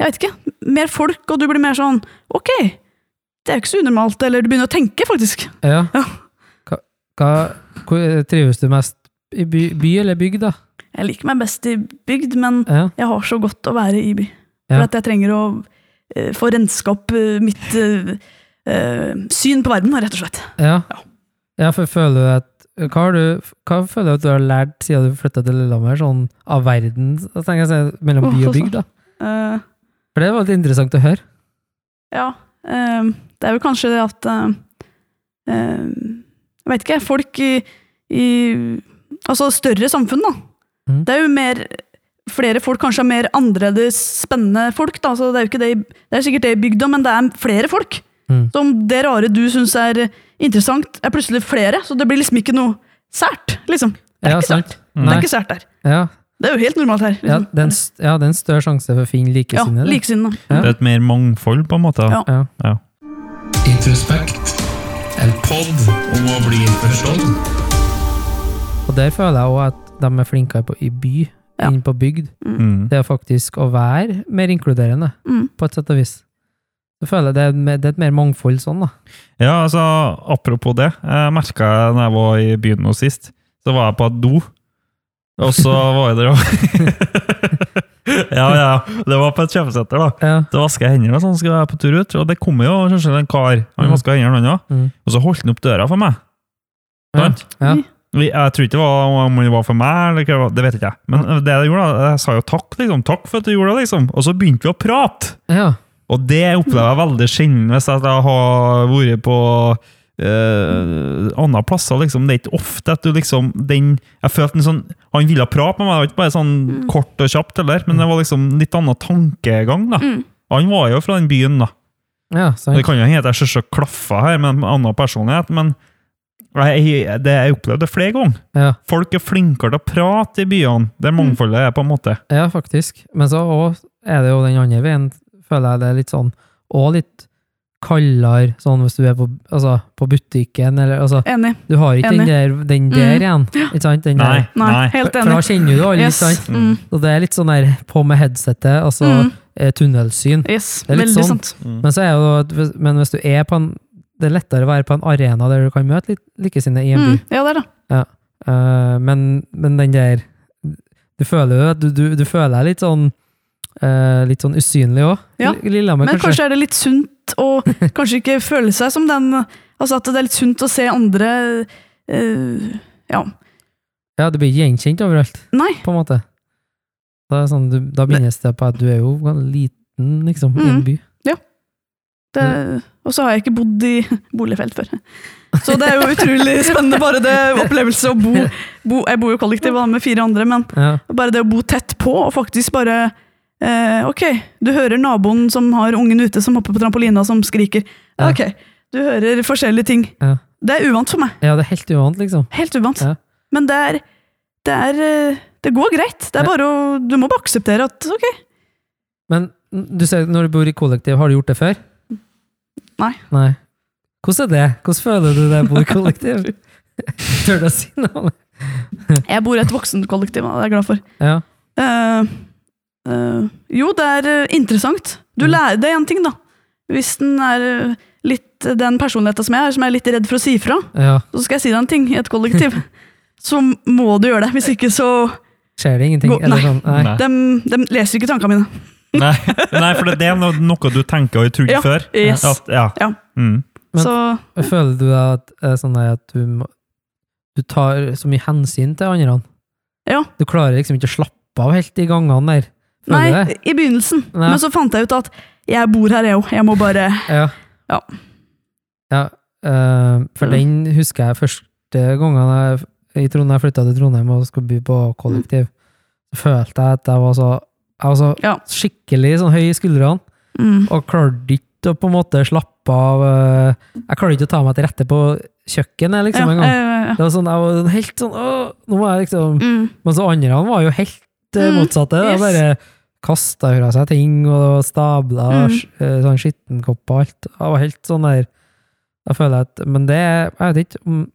C: Jeg vet ikke. Mer folk, og du blir mer sånn Ok, det er jo ikke så unormalt. Eller du begynner å tenke, faktisk.
B: ja.
C: Ja.
B: Hva, hva, hvor- eh, trives du mest? I by, by eller bygd, da?
C: Jeg liker meg best i bygd, men
B: Ja.
C: jeg har så godt å være i by.
B: Ja.
C: For at jeg trenger å eh, få renska opp eh, mitt eh, eh, syn på verden, rett og slett.
B: Ja.
C: Ja.
B: ja, for føler du at hva, har du, hva føler du at du har lært siden du flytta til Lillehammer, sånn av verden, da tenker jeg å si, mellom by
C: Åh,
B: og bygd? da?
C: Eh,
B: For det var litt interessant å høre.
C: ja. eh, det ehm, er vel kanskje det at eh, eh, Jeg vet ikke, folk i, i altså større samfunn, da.
B: Mhm.
C: Det er jo mer flere folk, kanskje er mer annerledes spennende folk. Da. Så det, er jo ikke det, i- det er sikkert det i bygda, men det er flere folk.
B: Mhm.
C: Så om det rare du syns er interessant, er plutselig flere, så det blir liksom ikke noe sært. liksom. Det er,
B: ja,
C: ikke,
B: sant.
C: sært. Det er
B: Nei,
C: ikke sært der.
B: ja,
C: Det er jo helt normalt her.
B: ja,
C: Liksom.
B: det er en st- ja, det er en større sjanse for å finne
C: Ja,
B: likesinnede. da.
C: Likesinnede.
A: Det er et mer mangfold, på en måte.
C: Ja.
B: Ja.
D: Introspekt. En podd om å bli forstått.
B: Og der føler jeg òg at de er flinkere på, i by
C: Ja.
B: enn på bygd.
A: Mm.
B: Det er faktisk å være mer inkluderende,
C: Mm.
B: på et sett og vis. Jeg føler det er, mer- det er et mer mangfold sånn, da.
A: Ja, altså, apropos det. Jeg merka jeg da jeg var i byen nå sist, så var jeg på et do. Og så var jeg der òg. ja, ja. Det var på et kjøpesenter, da.
B: Ja.
A: Så vasker jeg hendene, og sånn skal jeg være på tur ut. Og det kommer jo kanskje en kar. Han
B: Mm.
A: vaska hendene, han òg.
B: Mm.
A: Og så holdt han opp døra for meg.
B: Ja.
A: Sant?
B: Ja.
C: Mm.
A: Vi- Jeg tror ikke det var om det var for meg, eller hva det var, det vet ikke jeg. Men det
B: Mm.
A: jeg gjorde, da, jeg sa jo takk, liksom. Takk for at du gjorde det, liksom. Og så begynte vi å prate.
B: ja.
A: Og det opplever jeg veldig sjelden hvis jeg har vært på eh, andre plasser. Liksom. Det er ikke ofte at du liksom den, Jeg følte en sånn Han ville prate med meg, det var ikke bare sånn
B: Mm.
A: kort og kjapt, eller, men det var liksom litt annen tankegang. da.
C: Mm.
A: Han var jo fra den byen, da.
B: ja
A: Det
B: sant.
A: kan jo hende at jeg selvsagt klaffa her med en annen personlighet, men jeg, det, jeg opplevde det flere ganger.
B: Ja.
A: Folk er flinkere til å prate i byene. Det mangfoldet er på en måte.
B: Ja, faktisk. Men så også er det jo den andre veien, føler jeg det er litt sånn, og litt kaldere, sånn hvis du er på, altså, på butikken, eller altså,
C: Enig.
B: du har ikke den der, den der
C: Mm.
B: igjen, ikke sant? Den
A: Nei.
B: der.
C: Nei,
A: Nei.
C: helt
B: For da
C: enig.
B: kjenner du alle,
C: Yes.
B: ikke sant?
C: Mm.
B: Og det er litt sånn der, på med headsetet, altså
C: Mm.
B: eh, tunnelsyn.
C: Yes,
B: Det er litt sånn.
C: veldig sant.
B: Men så er det jo, at hvis- men hvis du er på en, det er lettere å være på en arena der du kan møte litt likesinne i en by.
C: Mm. Ja, det er det. Mm.
B: Eh, men, men den der Du føler jo at du, du, du føler deg litt sånn eh, Litt sånn usynlig òg.
C: Ja,
B: Lillehammer,
C: Men
B: kanskje.
C: kanskje er det litt sunt å kanskje ikke føle seg som den Altså at det er litt sunt å se andre eh, Ja.
B: Ja, du blir ikke gjenkjent overalt,
C: Nei.
B: på en måte. Da, er det sånn, du, da begynnes det på at du er jo ganske liten, liksom, i en
C: Mm.
B: by.
C: Det,
B: Mm.
C: og så har jeg ikke bodd i boligfelt før. Så det er jo utrolig spennende, bare det opplevelse å bo, bo Jeg bor jo kollektiv da, med fire andre, men
B: Ja,
C: bare det å bo tett på og faktisk bare eh, Ok, du hører naboen som har ungen ute, som hopper på trampolina, som skriker.
B: Ja.
C: Ok, du hører forskjellige ting.
B: Ja.
C: Det er uvant for meg.
B: ja det er helt uvant, liksom.
C: Helt uvant.
B: Ja.
C: Men det er, det er eh, Det går greit. Det
B: Ja.
C: er bare å Du må bare akseptere at ok,
B: Men n- du ser, når du bor i kollektiv, har du gjort det før?
C: Nei.
B: Nei. Hvordan er det? Hvordan føler du det å bo i kollektiv? Tør du å si noe om det? Mm.
C: jeg bor i et voksenkollektiv, og det er jeg glad for.
B: Ja.
C: Eh, eh, jo, det er eh, interessant. Du
B: Mm.
C: lærer Det er én ting, da. Hvis den er eh, litt den personligheten som jeg er, som jeg er litt redd for å si fra,
B: ja.
C: så skal jeg si deg en ting i et kollektiv. så må du gjøre det. Hvis ikke så
B: Skjer det ingenting?
C: Gå-
B: Eller
C: nei.
B: sånn? Nei.
A: Nei.
C: De, de leser ikke tankene mine.
A: Nei, Nei, for det er no- noe du tenker og tror
C: Ja,
A: før.
C: yes.
A: At, ja.
C: Ja.
A: Mm.
B: Men-
C: så
B: Føler du at, eh, sånn der at du, må- du tar så mye hensyn til andre?
C: Ja.
B: Du klarer liksom ikke å slappe av helt i gangene der? Føler du
C: Nei,
B: det?
C: i begynnelsen.
B: Nei.
C: Men så fant jeg ut at jeg bor her, jeg òg. Jeg må bare
B: Ja.
C: Ja.
B: Ja, eh, for
C: Mm.
B: den husker jeg første gangen jeg, i Trondheim, jeg flytta til Trondheim og skulle bo på kollektiv. Så følte jeg at jeg var så, jeg var så
C: Ja.
B: skikkelig sånn høy i skuldrene,
C: mm.
B: og klarte ikke å på en måte slappe av. eh, Jeg klarte ikke å ta meg til rette på kjøkkenet liksom
C: ja,
B: en gang.
C: eh,
B: Det var sånn, jeg var helt sånn Åh, nå må jeg liksom
C: mm.
B: Men så andre han var jo helt eh,
C: Mm,
B: motsatte. Da
C: yes.
B: bare kasta fra seg ting og stabla
C: Mm.
B: mm. sånn skittenkopper og alt. Jeg var helt sånn der Jeg føler at Men det Jeg vet ikke om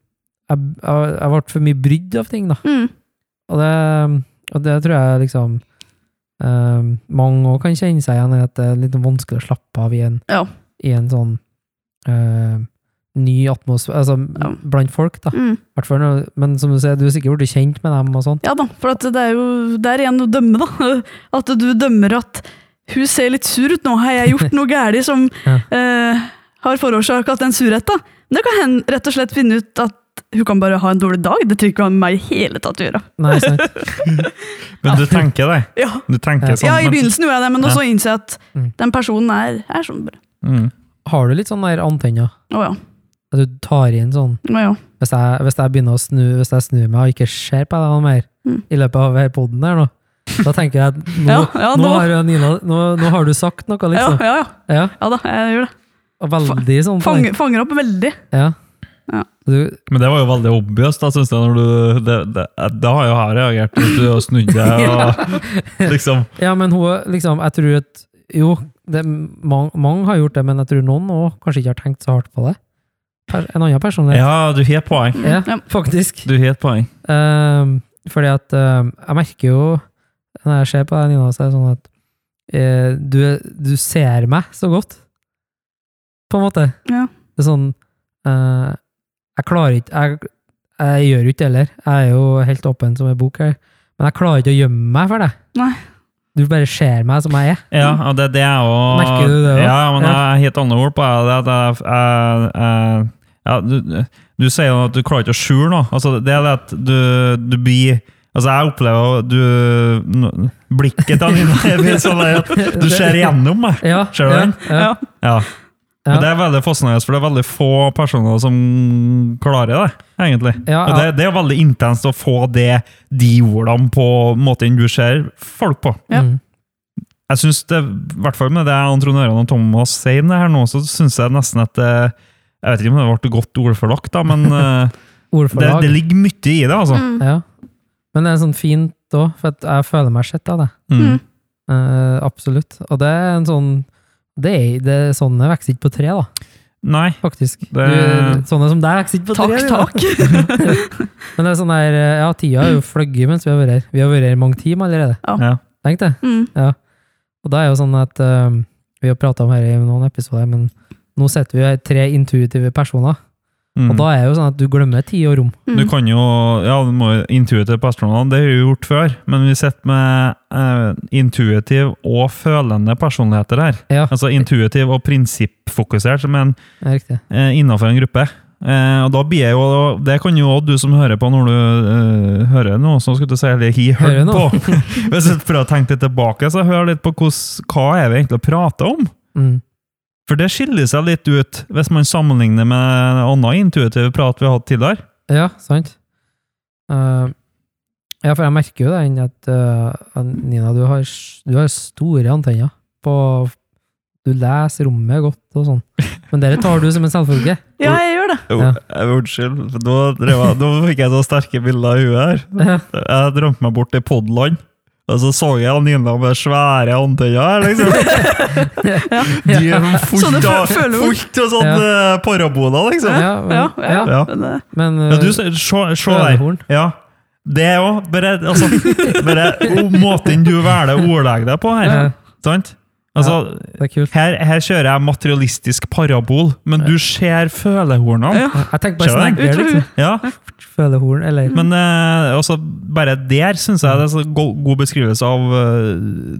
B: Jeg, jeg, jeg ble for mye brydd av ting, da.
C: Mm.
B: Og det, og det tror jeg liksom eh, mange òg kan kjenne seg igjen i, at det er litt vanskelig å slappe av i en,
C: Ja.
B: i en sånn eh, ny atmosfære Altså
C: Ja.
B: blant folk, da.
C: Mm.
B: Hvert fall når- Men som du sier, du er sikkert blitt kjent med dem og sånn.
C: Ja da, for at det er jo det er igjen å dømme, da. At du dømmer at hun ser litt sur ut nå, har jeg gjort noe galt som
B: Ja.
C: eh, har forårsaka den surheten? Men det kan hen rett og slett finne ut at hun kan bare ha en dårlig dag. Det trenger ikke å ha med meg i hele tatt å gjøre.
B: Nei, sant?
A: Men du tenker det.
C: Ja,
A: Du tenker
B: Ja.
A: sånn.
C: i
A: men-
C: begynnelsen gjorde jeg det, men
A: Ja.
C: så innser jeg at
B: Mm.
C: den personen er, er sånn. bare.
A: Mm.
B: Har du litt sånn der antenner?
C: Å ja.
B: At du tar inn sånn
C: Å ja.
B: Hvis jeg, hvis jeg begynner å snu Hvis jeg snur meg og ikke ser på deg noe mer
C: Mm.
B: i løpet av her podden der nå, da tenker jeg at nå,
C: Ja, ja,
B: nå,
C: nå-
B: har, jo Nina, nå, nå har du sagt noe,
C: Ja,
B: liksom.
C: ja, ja.
B: Ja,
C: ja da, jeg gjør det.
B: og veldig sånn. på den.
C: Fanger, fanger opp veldig.
B: Ja.
C: Ja.
B: Du,
A: Men det var jo veldig obvious, da, synes jeg. Når du, det, det, da har jo jeg reagert hvis du har snudd deg og liksom
B: ja, men hun liksom Jeg tror at Jo, det, mange, mange har gjort det, men jeg tror noen òg kanskje ikke har tenkt så hardt på det. Per, en annen personlighet.
A: Ja, du har et poeng.
B: Ja,
C: Ja.
B: faktisk.
A: Du har et poeng.
B: Ehm, fordi at ehm, jeg merker jo Når jeg ser på deg, Nina, så er det sånn at eh, du, du ser meg så godt. På en måte.
C: Ja.
B: Det er sånn eh, Jeg klarer ikke jeg, jeg gjør jo ikke det heller. Jeg er jo helt åpen som en bok her. Men jeg klarer ikke å gjemme meg for deg.
C: Nei.
B: Du bare ser meg som jeg er.
A: Ja, og det, det er jo
B: Mm. Merker du det også?
A: Ja, men
B: Ja.
A: jeg har et annet ord på det. det at jeg, jeg, jeg, ja, du, du sier jo at du klarer ikke å skjule noe. Altså, det er det at du, du blir Altså, jeg opplever at du n- Blikket til Nina er litt sånn der at du ser igjennom meg.
B: Ja,
A: Ser du
B: ja,
A: den?
B: Ja.
C: Ja.
A: Ja.
B: Ja.
A: Men det er veldig fascinerende, for det er veldig få personer som klarer det, egentlig.
B: Ja,
A: Og det, det er veldig intenst å få det, de ordene på måten du ser folk på.
C: Ja.
B: Mm.
A: Jeg synes det, i hvert fall med det entreprenørene og Thomas sier om det her nå, så synes jeg nesten at det, jeg vet ikke om det ble godt ordforlagt, da, men eh, det,
B: Ordforlag.
A: det ligger mye i det, altså.
C: Mm.
B: Ja. Men det er sånn fint òg, for at jeg føler meg sett av det.
A: Mm.
C: Mm.
B: Eh, absolutt. Og det er en sånn det er, det er Sånne vokser ikke på tre, da,
A: Nei,
B: faktisk. Du,
A: Det-
B: sånne som deg vokser ikke på
C: Takk,
B: tre. du, da.
C: takk.
B: Men det er sånn der, eh, ja, tida har jo fløyet mens vi har vært her. Vi har vært her i mange timer allerede.
A: ja.
B: Tenk det.
C: Mm.
B: Og da er jo sånn at eh, Vi har prata om dette i noen episoder, men nå sitter vi jo her, tre intuitive personer. Og
A: Mm.
B: da er jo sånn at du glemmer tid og rom.
C: Mm.
A: Du kan jo ja, du må jo intuitive på astronautene, det har vi jo gjort før, men vi sitter med eh, intuitiv og følende personligheter her.
B: Ja,
A: Altså intuitiv og prinsippfokusert, som er en,
B: det er riktig.
A: eh, innenfor en gruppe. Eh, og da blir jeg jo, Det kan jo også du som hører på når du eh, hører noe, så skulle du si eller he
B: Hører
A: hørt
B: noe.
A: på. Hvis du prøver å tenke litt tilbake, så hør litt på hvordan- hva er vi egentlig prater om.
B: Mm.
A: For det skiller seg litt ut hvis man sammenligner med annen intuitiv prat vi har hatt tidligere.
B: Ja, sant. Eh, ja, for jeg merker jo den at eh, at Nina, du har, s- du har store antenner på Du leser rommet godt og sånn. Men det tar du som en selvfølge.
C: Ja, jeg gjør det.
A: Jo,
B: Ja.
A: jeg- Unnskyld, for nå, drev jeg, nå fikk jeg så sterke bilder i huet
B: Ja.
A: her. Jeg drømte meg bort til podland, og så så jeg Nina med svære antenner her, liksom. De er
C: Sånne
A: fullt av
C: fø- følehorn.
A: fullt av sånne eh, paraboler, liksom.
B: Ja, men,
C: Ja, ja.
A: Ja.
C: Men, eh,
B: men eh,
A: Ja, du, se se- se der.
B: Ølehorn.
A: Ja. Det òg. Bare, altså, bare oh, måten du velger å ordlegge deg på
B: Ja.
A: her. Sant? Altså,
B: Eh, det er kult.
A: her, her kjører jeg materialistisk parabol, men du ser følehornene.
C: Ja.
B: Jeg tenker bare
A: Skjønner
B: snegler,
C: Utrolig.
B: liksom.
A: Ja.
B: Følehorn, eller
C: Mm,
A: Men eh, altså, bare der syns jeg det er så go god beskrivelse av eh,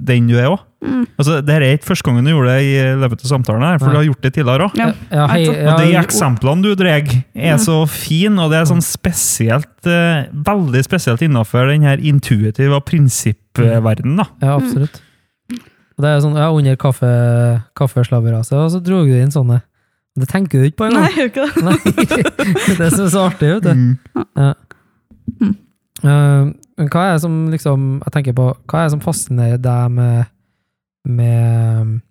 A: den du er òg.
C: Mm.
A: Altså, det her er ikke første gangen du gjorde det i eh, løpet av samtalen, her, for
B: Nei.
A: du har gjort det tidligere òg.
C: Ja.
B: ja, hei,
C: Og
A: Og de
B: ja,
A: eksemplene du drar, er så fine, og det er sånn spesielt, eh, veldig spesielt innenfor den her intuitive og prinsippverdenen. da.
B: ja, absolutt. Og det er jo sånn, ja, Under kaffe, kaffeslabberaset, og så dro du inn sånne. Det tenker du ikke på
C: Nei,
B: engang.
C: jeg gjør ikke det.
B: Nei. Det er så, så artig, vet du. Eh, men hva er det som liksom Jeg tenker på, hva er det som fascinerer deg med, med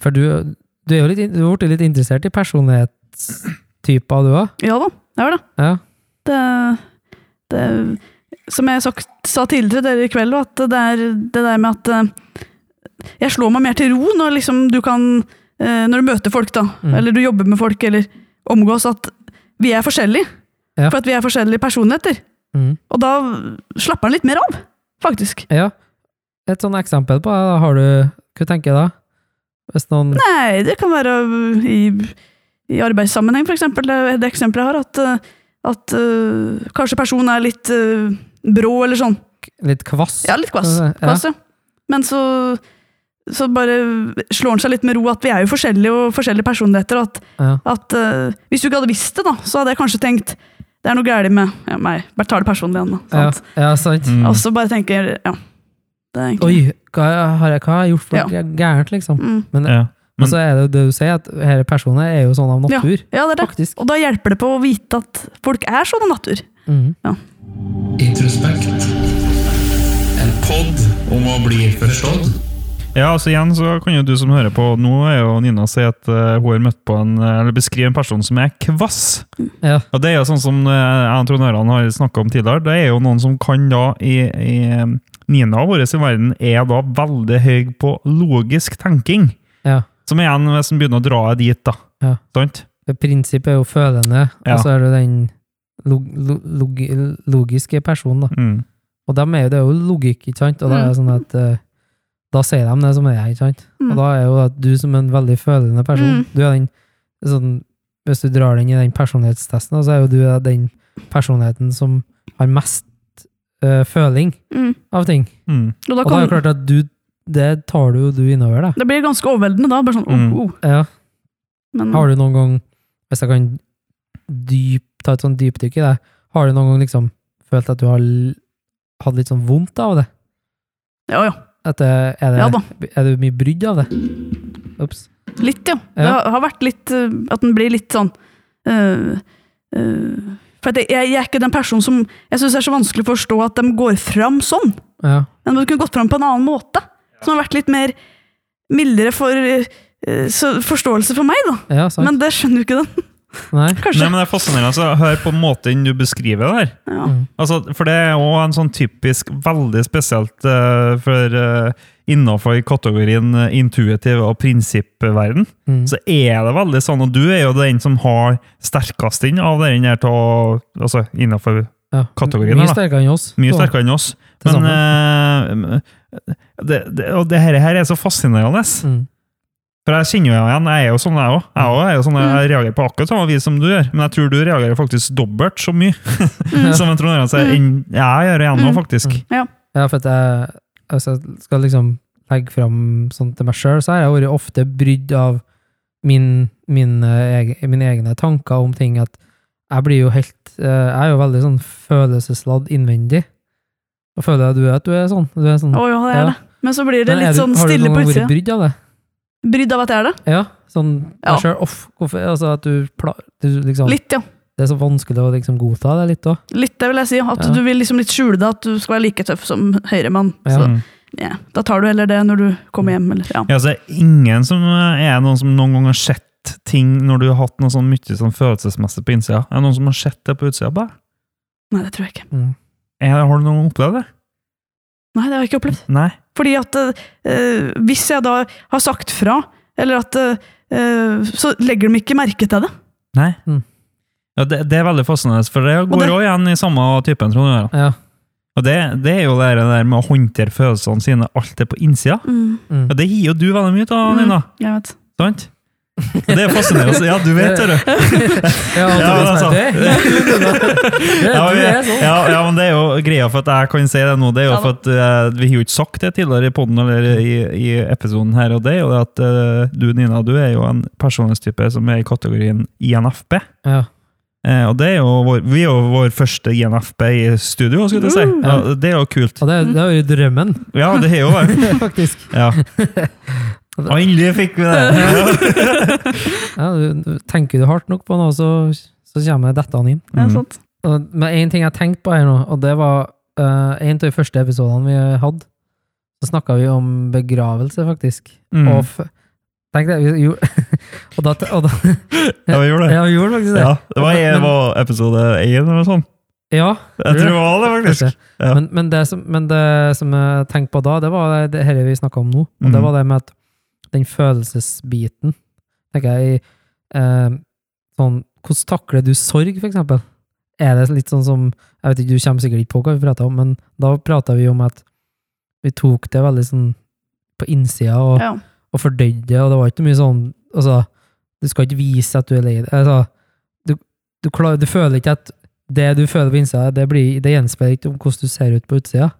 B: For du, du er jo litt, in- du har blitt litt interessert i personlighetstyper, du òg?
C: Ja da, jeg gjør det.
B: Ja.
C: det, det Som jeg sagt, sa tidligere til dere i kveld, at det er det der med at eh, jeg slår meg mer til ro når liksom du kan eh, Når du møter folk, da,
B: Mm.
C: eller du jobber med folk, eller omgås, at vi er forskjellige.
B: Ja.
C: For at vi er forskjellige personligheter.
B: Mm.
C: Og da slapper han litt mer av, faktisk.
B: ja. Et sånn eksempel på det, da har du Hva tenker du da? Hvis noen
C: Nei, det kan være i, i arbeidssammenheng, for eksempel. Det, det eksempelet jeg har, at, eh, at eh, kanskje personen er litt eh, brå eller sånn.
B: Litt kvass?
C: Ja, litt kvass.
B: Ja.
C: kvass ja. Men så, så bare slår han seg litt med ro at vi er jo forskjellige og forskjellige personligheter. og At,
B: Ja.
C: at eh, hvis du ikke hadde visst det, da, så hadde jeg kanskje tenkt det er noe galt med ja, meg. Bare tar det personlig igjen, da.
B: Ja,
C: Sant?
B: ja, sant.
A: Mm.
C: Og så bare tenker jeg, ja. Det er egentlig
B: Oi, hva har jeg, hva har jeg gjort for
C: Ja.
B: gærent, liksom?
C: mm,
B: Men,
A: Ja. Men-
B: og så er det jo det du sier, at disse personene er jo sånn av natur,
C: Ja, det er det.
B: faktisk.
C: Og da hjelper det på å vite at folk er sånn av natur.
B: Mhm.
D: Introspekt. En pod om å bli forstått.
A: Ja, altså igjen så kan jo du som hører på nå, er jo Nina si at eh, hun har møtt på en, eh, eller beskriver en person som er kvass.
B: Ja.
A: Og det er jo sånn som eh, jeg og Trond Øran har snakket om tidligere, det er jo noen som kan da i, i eh, Nina vår i verden er da veldig høy på logisk tenking.
B: ja.
A: Som igjen, hvis en begynner å dra dit da.
B: Ja.
A: Sant?
B: Det prinsippet er jo følende,
A: Ja.
B: og så er det den log log logiske personen, da.
A: Mm.
B: Og dem er jo, det er jo logikk, ikke sant? Og da er det sånn at eh, da sier de det som det er, ikke sant?
C: Mm.
B: Og da er jo at du som en veldig følende person, du er den sånn, Hvis du drar den i den personlighetstesten, da, så er jo du den personligheten som har mest eh, føling
C: Mm.
B: av ting.
A: Mm.
C: Og
B: Og da
C: da
B: er
C: kan,
B: det klart at du Det tar du jo du innover deg.
C: det blir ganske overveldende da. Bare sånn,
A: Mm.
C: oh, oh.
B: Ja.
C: Men,
B: Har du noen gang, hvis jeg kan dyp, ta et sånn dypdykk i det, har du noen gang liksom følt at du har l- hatt litt sånn vondt av det?
C: ja, ja.
B: At det, er, det,
C: Ja da.
B: er du mye brydd av det? Ops.
C: Litt, ja.
B: Ja.
C: Det har- har vært litt eh, At den blir litt sånn eh, eh, For at jeg, jeg er ikke den personen som Jeg syns er så vanskelig å forstå at de går fram sånn.
B: Ja.
C: Men det kunne gått fram på en annen måte. Som har vært litt mer mildere for eh, så forståelse for meg, da.
B: ja, sant.
C: Men det skjønner jo ikke den,
B: Nei.
A: Nei,
C: kanskje.
A: men det er fascinerende å høre på måten du beskriver det her.
C: Ja.
B: Mm.
A: Altså, for det er òg en sånn typisk, veldig spesielt eh, for eh, Innenfor kategorien eh, intuitiv og prinsippverden,
B: Mm.
A: så er det veldig sånn, og du er jo den som har sterkest inn av den her til å Altså innenfor
B: Ja.
A: kategorien her,
B: Mye
A: da.
B: sterkere enn oss.
A: Mye
B: Så-
A: sterkere enn oss.
B: Det
A: Men eh, det, det, Og det her, her er så fascinerende.
B: Mm.
A: For jeg kjenner jo igjen, jeg er jo sånn jeg òg. Jeg, også er jo sånn,
C: Mm.
A: jeg reagerer på akkurat samme vis som du gjør, men jeg tror du reagerer faktisk dobbelt så mye som en trondheim sier, enn jeg gjør igjen nå,
C: Mm.
A: faktisk.
B: Ja, for at jeg, altså, jeg skal liksom legge fram sånn til meg sjøl, så har jeg vært ofte brydd av min, min, eh, eg- mine egne tanker om ting. At jeg blir jo helt eh, Jeg er jo veldig sånn følelsesladd innvendig. Og føler jeg du er at du er sånn. Du er sånn.
C: Å ja, det er
B: Ja.
C: det. Men så blir det
B: Men er
C: litt
B: du-
C: sånn stille
B: Har du
C: på
B: noen gang
C: utsida.
B: vært brydd av det?
C: Brydd av at jeg er det?
B: Ja. Sånn
C: Ja.
B: deg sjøl off. Hvorfor Altså at du, pla, du liksom
C: Litt, ja.
B: Det er så vanskelig å liksom godta det litt òg.
C: Litt, det vil jeg si. At
B: Ja.
C: du vil liksom litt skjule det, at du skal være like tøff som høyremann.
B: Ja.
C: Så,
A: Mm.
C: ja. Da tar du heller det når du kommer hjem, eller ja.
A: Ja, så er det ingen som eh, er noen som noen gang har sett ting når du har hatt noe sånn mye sånn følelsesmessig på innsida. Er det noen som har sett det på utsida? på deg?
C: Nei, det tror jeg ikke.
B: Mm.
A: Er det- Har du noen gang opplevd det?
C: Nei, det har jeg ikke opplevd.
A: Nei.
C: Fordi at eh, hvis jeg da har sagt fra, eller at eh, Så legger de ikke merke til det.
A: Nei.
B: Mm.
A: Ja, det, det er veldig fascinerende, for det går
C: det-
A: òg igjen i samme typen. Tror jeg.
B: Ja.
A: Og det, det er jo det der med å håndtere følelsene sine, alt det på innsida.
B: Mm.
A: Ja, det gir jo du veldig mye av,
C: Mm.
A: Nina.
C: Jeg vet.
A: Sant? Og det er fascinerende. Ja, du vet det, du.
B: Ja,
A: Ja, altså.
B: Antonis,
A: det er
B: det er du, Nina. Det er-
A: Ja,
B: Du er
A: men,
B: sånn.
A: ja, ja, men det er jo greia for at jeg kan si det nå. Det er jo
C: Ja da.
A: for at eh, vi har jo ikke sagt det tidligere i podden eller i, i episoden her, og det er jo det at eh, du, Nina, du er jo en personlighetstype som er i kategorien INFP.
B: Ja.
A: Eh, og det er jo vår, vi er jo vår første INFP i studio, skulle jeg si.
B: Mm.
A: Ja, det er jo kult.
B: Og det, er- det er jo drømmen,
A: Ja, det er jo det.
B: faktisk.
A: Ja. Og endelig fikk vi det!
B: Ja, du, du, tenker du hardt nok på noe, så, så kommer dette han inn.
C: Det er
A: Mm.
C: sant.
B: Og, men én ting jeg tenkte på her nå, og det var eh, en av de første episodene vi hadde. Så snakka vi om begravelse, faktisk.
A: Mm.
B: Og f Tenk det, vi gjorde Og da, og da
A: Ja, vi gjorde det.
B: Ja, vi gjorde faktisk det.
A: Ja, det var, det var episode 1 eller noe sånt.
B: Ja,
A: Jeg tror det var det, faktisk. Ja.
B: Men, men, det som, men det som jeg tenkte på da, det var det dette vi snakka om nå. Og det
A: Mhm.
B: var det med at den følelsesbiten tenker jeg, eh, sånn, Hvordan takler du sorg, for eksempel? Er det litt sånn som jeg vet ikke, Du kommer sikkert ikke på hva vi prata om, men da prata vi om at vi tok det veldig sånn på innsida og,
C: Ja.
B: og fordøyde det, og det var ikke mye sånn altså, Du skal ikke vise at du er lei deg. Altså, du, du, klar, du føler ikke at det du føler på innsida, det, blir, det gjenspeiler ikke om hvordan du ser ut på utsida.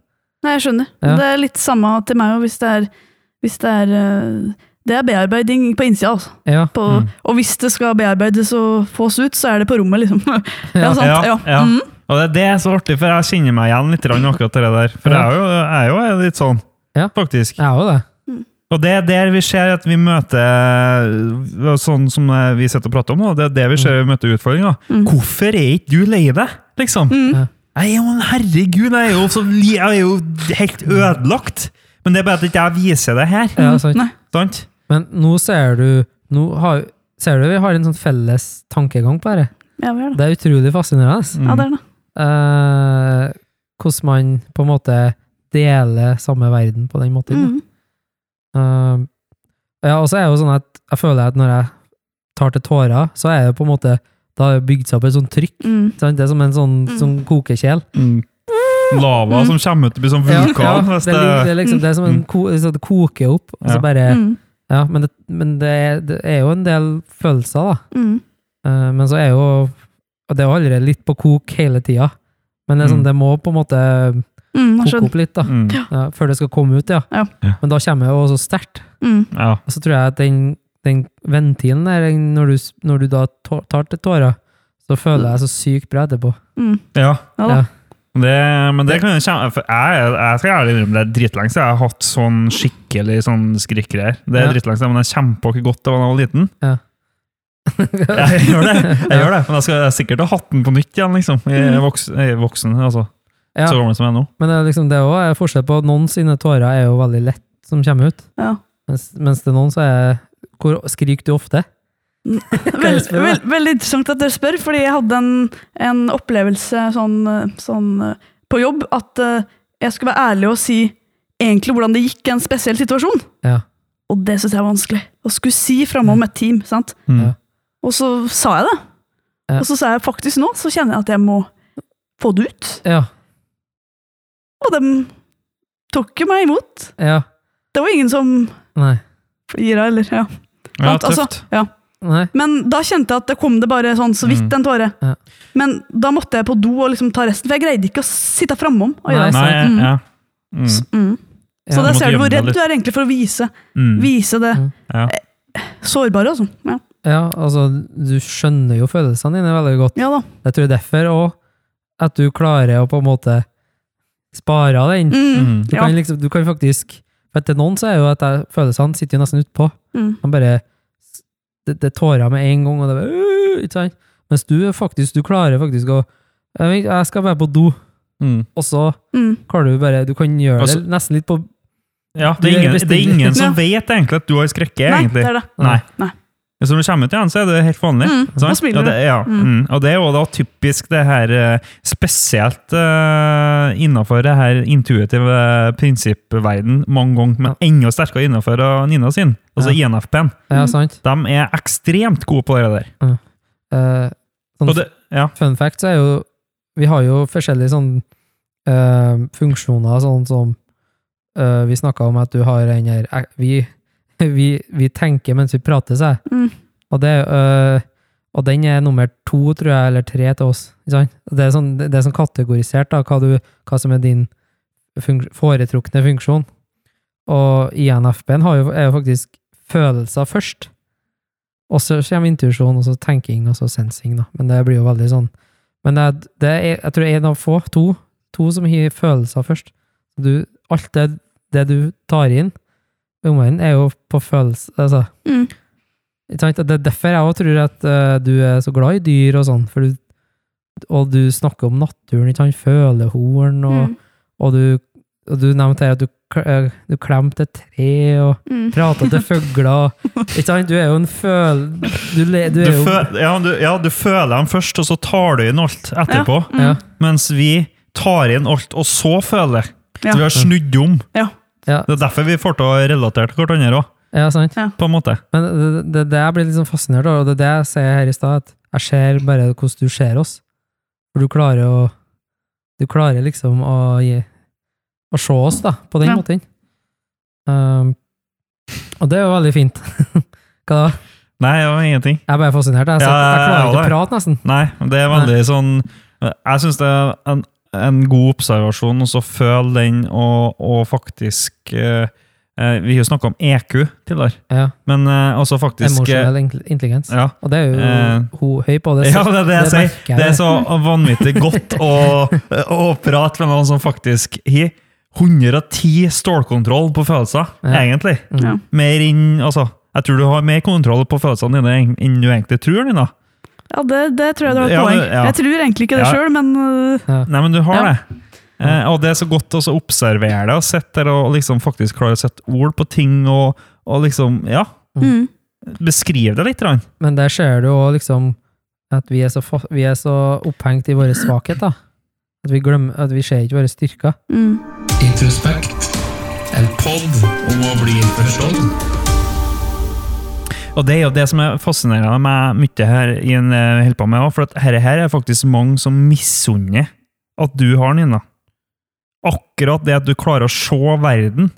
C: Nei, jeg skjønner.
B: Ja.
C: Det er litt samme til meg òg, hvis det er, hvis det, er eh, det er bearbeiding på innsida, altså.
B: Ja.
C: På,
A: Mm.
C: Og hvis det skal bearbeides og fås ut, så er det på rommet, liksom.
B: Ja.
C: Ja, sant. Ja.
A: Ja, ja.
C: Mm.
A: Og det, det er så artig, for jeg kjenner meg igjen litt grann akkurat det der. For jeg er jo, jeg er jo litt sånn,
B: Ja.
A: faktisk.
B: Jeg er jo det.
A: Og det er der vi ser at vi møter øh, sånn som eh, vi sitter og prater om nå, det er det vi ser vi møter utfordringer.
C: Mm.
A: Hvorfor er ikke du lei deg, liksom?
C: Mm.
A: Nei, ja, men herregud, jeg er jo, så, li- jeg er jo helt ødelagt. Men det er bare at ikke jeg viser det her,
B: Ja, sant.
C: Nei.
A: sant?
B: Men nå ser du Nå har, ser du vi har en sånn felles tankegang på dette.
C: Ja, vi gjør det.
B: Det er utrolig fascinerende.
C: Ja, det er det.
B: Eh, hvordan man på en måte deler samme verden på den måten. da.
C: Mm.
B: Eh, ja, og så er det jo sånn at jeg føler at når jeg tar til tårer, så er det på en måte Da har det bygd seg opp et sånt trykk.
C: Mm.
B: Sant? Det er som en sånn,
C: Mm.
B: sånn kokekjel.
A: Mm. Lava som kommer ut og blir sånn
B: Ja,
A: vulkan.
B: ja,
A: hvis
B: det, er li- det,
A: det,
B: er liksom, det er som en ko, så det koker opp, og
A: Ja.
B: så bare
C: Mm.
B: Ja, men, det, men det, er, det er jo en del følelser, da.
C: Mm.
B: Eh, men så er jo Og det er jo allerede litt på kok hele tida. Men det, er sånn,
A: Mm.
B: det må på en måte
C: Mm.
B: koke
C: jeg skjønner.
B: opp litt, da.
A: mm.
B: Ja, før det skal komme ut, ja.
C: Ja.
A: Ja.
B: Men da kommer det jo også sterkt.
C: Mm.
A: ja.
B: Og så tror jeg at den, den ventilen der, den- når du, s- når du da tå- tar til tårer, så føler jeg så sykt bra etterpå.
C: Mm.
A: ja.
C: Ja da.
B: Ja.
A: Det, men det kan jo kjenne for jeg, jeg skal ærlig innrømme det er dritlenge siden jeg har hatt sånn skikkelig sånn skrikkgreier. Det er
B: Ja.
A: dritlenge siden, men jeg kommer på hvor godt det var da jeg var liten.
B: Ja.
A: jeg gjør det, jeg gjør det. Men jeg skal sikkert ha hatt den på nytt igjen, liksom. I voksen, i voksen altså.
B: Ja.
A: Så gammel som jeg er nå.
B: Men det er liksom det òg er forskjell på noen sine tårer er jo veldig lett som kommer ut,
C: Ja.
B: mens, mens det er noen så er Hvor skriker du ofte?
C: Vel,
B: jeg spørre?
C: vel, veldig interessant at dere spør, fordi jeg hadde en, en opplevelse sånn, eh, sånn eh, på jobb at eh, jeg skulle være ærlig og si egentlig hvordan det gikk i en spesiell situasjon.
B: Ja.
C: Og det syns jeg er vanskelig. Å skulle si framom et team. sant?
A: Mm.
B: Ja.
C: Og så sa jeg det.
B: Ja.
C: Og så sa jeg faktisk nå, så kjenner jeg at jeg må få det ut.
B: Ja.
C: Og de tok jo meg imot.
B: Ja.
C: Det var ingen som
B: Nei.
C: flira, eller ja.
A: Ja,
C: Sant? Altså,
A: tøft.
C: ja.
B: Nei.
C: Men da kjente jeg at det kom det bare sånn så vidt
A: Mm.
C: en tåre.
B: Ja.
C: Men da måtte jeg på do og liksom ta resten, for jeg greide ikke å sitte framom. og
B: Nei,
C: gjøre det.
A: Nei,
C: Mm.
A: ja. Mm.
C: Mm. Så
A: Du
B: Ja.
C: der
A: måtte
C: ser du hvor
A: gjemme deg
C: redd
A: litt.
C: du er egentlig for å vise,
A: Mm.
C: vise det
B: Mm.
A: Ja.
C: eh, sårbare. Altså. Ja.
B: Ja, altså, du skjønner jo følelsene dine veldig godt.
C: ja da.
B: Jeg tror derfor òg at du klarer å på en måte spare den.
C: Mm.
A: Mm.
B: Du
C: ja.
B: kan liksom, du kan faktisk For til noen så er jo at jeg, følelsene sitter jo nesten utpå.
C: Mm.
B: Man bare Det, det er tårer med en gang, og det er bare «Øh», Ikke sant? Mens du er faktisk, du klarer faktisk å jeg, vet, jeg skal være på do,
A: Mm.
B: og så
C: Mm.
B: klarer du bare Du kan gjøre
A: Altså-
B: det nesten litt på
A: Ja,
B: Du
A: det
B: er
A: er ingen, det er
B: bestiller.
A: ingen som vet egentlig at du har skrekket,
C: Nei,
A: egentlig.
C: det er det.
A: Nei.
C: Nei.
A: Hvis du kommer ut igjen, så er det helt vanlig.
C: Mm,
A: sant?
C: da smiler
A: og det, ja,
C: Mm.
A: mm. og det er jo da typisk det her eh, Spesielt uh, innafor det her intuitive prinsippverden mange ganger, men enda sterkere innafor Nina sin. Altså INFP-en.
B: Ja, sant?
A: De er ekstremt gode på det der.
B: Eh, sånn
A: Og det, ja.
B: fun fact, så er jo Vi har jo forskjellige sånn eh, funksjoner, sånn som eh, Vi snakka om at du har den her eh, vi, vi, vi tenker mens vi prater, sa jeg.
C: Mm.
B: Og, det, eh, og den er nummer to, tror jeg, eller tre til oss. Ikke sant? Og Det er sånn, det er sånn kategorisert, da, hva, du, hva som er din funk foretrukne funksjon. Og INFP-en har jo, er jo faktisk følelser først. Og så kommer intuisjon, og så tenking, og så sensing, da. Men det blir jo veldig sånn. Men det, er- det er, jeg tror det er en av få, to, to som har følelser først. Du, alt det, det du tar inn, omvendt, er jo på følelse, altså.
C: Mm.
B: Ikke sant? Det er derfor jeg òg tror at eh, du er så glad i dyr og sånn, for du, og du snakker om naturen, ikke sant? Følehorn, og,
C: Mm.
B: og, du, og du nevnte her at du, kl- eh, du klemte et tre, og
C: Mm.
B: prata til fugler. Ikke sant? Du er jo en føl... Du, le, du
A: Du,
B: er jo
A: fø- ja, du, ja, du føler dem først, og så tar du inn alt etterpå.
C: Mm.
B: ja,
A: Mens vi tar inn alt, og så føler.
C: Ja.
A: Så vi har snudd om.
C: Ja.
B: Ja.
A: Det er derfor vi får til å relatere til hverandre òg,
B: ja, sant.
A: på en måte.
B: Men det, det, det jeg blir litt sånn fascinert av, og det er det jeg ser her i stad, at jeg ser bare hvordan du ser oss. For du klarer å Du klarer liksom å gi Å se oss, da, på den
C: Ja.
B: måten. Um, og det er jo veldig fint. Hva da?
A: Nei, det var ingenting.
B: Jeg er bare fascinert. Jeg,
A: Ja,
B: jeg, jeg klarer
A: ja,
B: ikke
A: det.
B: å prate, nesten.
A: Nei, det er veldig sånn Jeg syns det er en, en god observasjon, og så føl den, og, og faktisk eh, eh, Vi har jo snakka om EQ tidligere,
B: Ja,
A: men eh, altså faktisk eh,
B: Emosjonell int- intelligens.
A: ja.
B: Og det er jo
A: Eh.
B: hun høy på. Det,
A: Ja, det er det jeg sier.
B: merker jeg.
A: Det er så vanvittig godt å, å prate med noen som faktisk har 110 stålkontroll på følelser,
B: Ja.
A: egentlig.
B: Mm.
C: Ja.
A: Mer inn, altså, jeg tror du har mer kontroll på følelsene dine enn- enn du egentlig tror, Nina.
C: Ja, det, det tror jeg du har et
A: Ja,
C: poeng.
A: men- ja.
C: Jeg tror egentlig ikke det
A: Ja.
C: selv, men øh,
A: Nei, men du har
C: Ja.
A: det. Eh, og det er så godt også å observere det og sette det, og liksom faktisk klare å sette ord på ting og, og liksom, ja,
C: mm.
A: beskrive det litt. grann.
B: Men der ser du òg liksom at vi er, så, fa- vi er så opphengt i våre svakheter. At vi, glemmer, at vi ser ikke våre styrker.
C: Mm.
D: Introspekt. En podd om å bli forstått.
A: Og det er jo det som er fascinerende med mye her, i en, eh, holder på med også, for at herre her er faktisk mange som misunner at du har den inne. Akkurat det at du klarer å se verden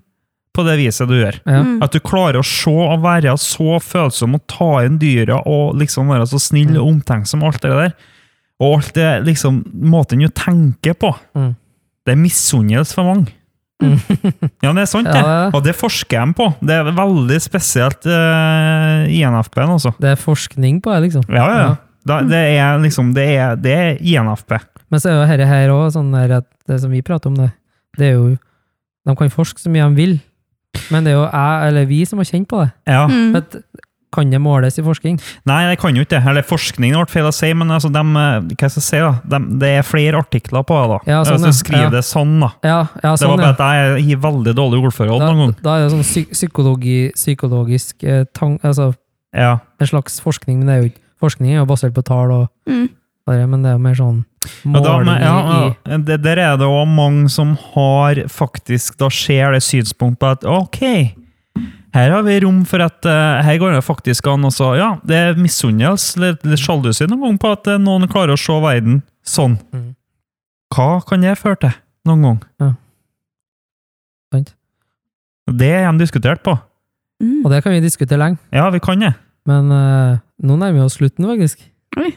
A: på det viset du gjør.
B: Ja.
C: Mm.
A: At du klarer å se og være så følsom og ta inn dyra og liksom være så
B: Mm.
A: snill og omtenksom og alt det der. Og alt det liksom Måten du tenker på.
B: Mm.
A: Det er misunnelse for mange.
B: Mm.
A: ja, det er sant,
B: Ja,
A: det.
B: det er det.
A: Og det forsker de på. Det er veldig spesielt eh, INFP-en, altså.
B: Det er forskning på det, liksom.
A: Ja, ja, ja.
B: Ja.
A: Da, det er liksom Det er, det er INFP.
B: Men så er jo dette her òg sånn der at det som vi prater om, det, det er jo De kan forske så mye de vil, men det er jo jeg eller vi som har kjent på det.
A: Ja.
C: Mm.
B: Vet, kan det måles i forskning?
A: Nei, det kan jo ikke det. Eller forskningen ble feil å si, men altså, dem, eh, hva skal jeg si, da? Dem- det er flere artikler på det, da.
B: Ja, sånn,
A: altså,
B: ja.
A: skriv
B: Ja.
A: det sånn, da.
B: Ja,
A: Det
B: ja
A: var
B: sånn,
A: bare
B: ja.
A: at jeg gir veldig dårlig ordforråd noen
B: Da,
A: gang.
B: da er det sånn psy psykologi, psykologisk eh, tang, altså
A: Ja.
B: en slags forskning, men det er jo ikke forskning, er jo basert på tall og
C: Mm.
B: bare, men det er jo mer sånn
A: Ja, da,
B: måling
A: men, ja,
B: i
A: ja. Det, der er det òg mange som har faktisk Da ser det synspunkt på at OK, her har vi rom for at eh, Her går det faktisk an å så Ja, det er misunnelse, litt, litt sjalusi noen gang på at eh, noen klarer å se verden sånn.
B: Mm.
A: Hva kan det føre til, noen gang?
B: Ja. Sant.
A: Det er de diskutert på.
C: Mm.
B: Og det kan vi diskutere lenge,
A: Ja, vi kan det.
B: men eh, nå nærmer vi oss slutten, faktisk.
C: Oi.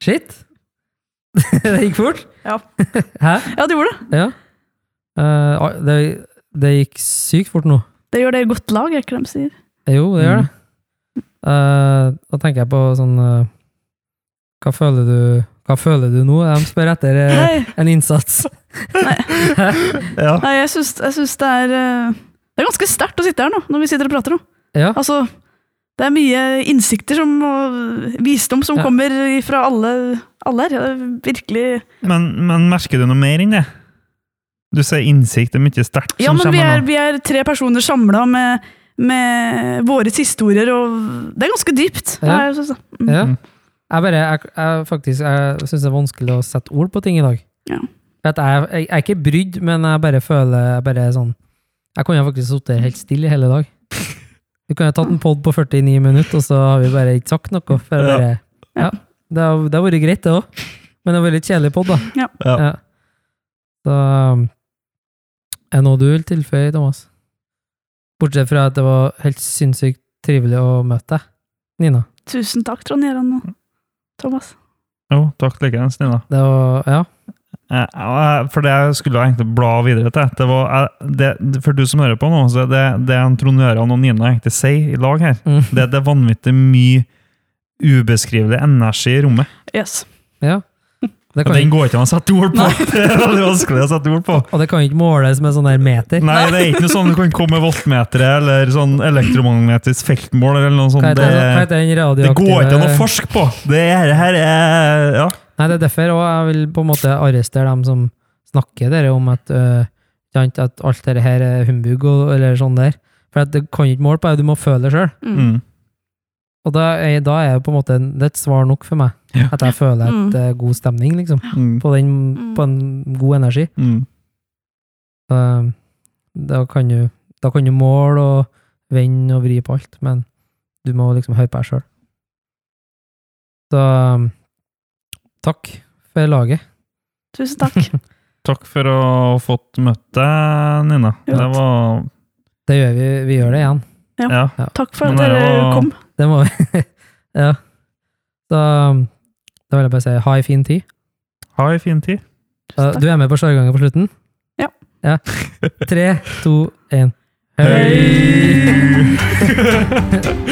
B: Shit! det gikk fort.
C: Ja.
B: Hæ?
C: Ja, det gjorde det.
B: Ja. Eh, ah, det, det gikk sykt fort nå.
C: Det gjør det i godt lag, er ikke det de sier.
B: Eh, Jo, det gjør det. Eh, da tenker jeg på sånn eh, Hva føler du Hva føler du nå? De spør etter eh,
C: Nei,
B: en innsats.
A: Ja.
C: nei jeg syns, jeg syns det er øh, Det er ganske sterkt å sitte her nå, når vi sitter og prater nå.
B: Ja.
C: Altså, det er mye innsikter som, og visdom som
B: Ja.
C: kommer fra alle, alle her. Det er virkelig
A: Men, men merker du noe mer enn det? Du sier innsikt er mye sterkt.
C: Ja,
A: som
C: men vi
A: kommer
C: er,
A: nå.
C: vi er tre personer samla med, med våre historier, og det er ganske dypt.
B: Ja.
C: Jeg synes det. Mm.
B: ja.
A: Mm.
B: Jeg bare Jeg, jeg faktisk Jeg syns det er vanskelig å sette ord på ting i dag.
C: Ja.
B: For at jeg, jeg, jeg er ikke brydd, men jeg bare føler jeg bare er sånn Jeg kunne faktisk sittet helt stille i hele dag. Vi kunne ha tatt en pod på 49 minutter, og så har vi bare ikke sagt noe. For jeg
A: Ja.
B: bare, ja. Det har det har vært greit, det òg. Men det har vært litt kjedelig pod, da.
C: Ja.
A: Ja.
B: Så um, Er det noe du vil tilføye, Thomas? Bortsett fra at det var helt sinnssykt trivelig å møte deg, Nina.
C: Tusen takk, Trond Gjerand og Thomas.
A: Jo, takk likeens, Nina.
B: Det var Ja.
A: Eh, eh, For det jeg skulle egentlig bla videre til det var, eh, det, For du som hører på nå, så er det, det en Trond Gøran og Nina egentlig sier i lag her,
B: Mm.
A: det, det er vanvittig mye ubeskrivelig energi i rommet.
C: Yes.
B: Ja. Det
A: Og
B: kan
A: den
B: ikke,
A: går ikke an å sette ord på! Det er veldig vanskelig å sette ord på.
B: og det kan ikke måles med sånn der meter.
A: Nei, det er ikke noe sånn du kan komme med voltmetere eller sånn elektromagnetisk feltmål eller noe
B: Hva
A: sånt.
B: heter,
A: Det,
B: hva heter den
A: det
B: radioaktive
A: går ikke an å forske på! Det her, her er Ja.
B: Nei, det er derfor også jeg vil på en måte arrestere dem som snakker dere om at, øh, sant, at alt dette her er humbug og, eller sånn der. For at det kan ikke måle på det, du må føle det sjøl.
C: Mm.
A: Mm.
B: Og da er, da er jeg på en måte, det er et svar nok for meg.
A: Ja.
B: At jeg føler at
C: Mm.
B: det er god stemning, liksom.
A: Mm.
B: På, den,
C: Mm.
B: på en god energi.
A: Mm.
B: Så, da, kan du, da kan du måle og vende og vri på alt, men du må liksom høre på deg sjøl. Så takk for laget.
C: Tusen takk.
A: Takk for å ha fått møtt deg, Nina.
C: Jo.
A: Det var
B: Det gjør vi. Vi gjør det igjen.
A: Ja.
C: Takk for
A: Men
C: at
A: det
C: dere
A: var-
C: kom.
B: Det må vi. ja. Så da vil jeg bare si ha ei en fin tid.
A: Ha ei fin tid.
B: Så,
C: Tusen takk.
B: du er med på sjargongen på slutten?
C: Ja.
B: ja. Tre, to, én.
A: Hei!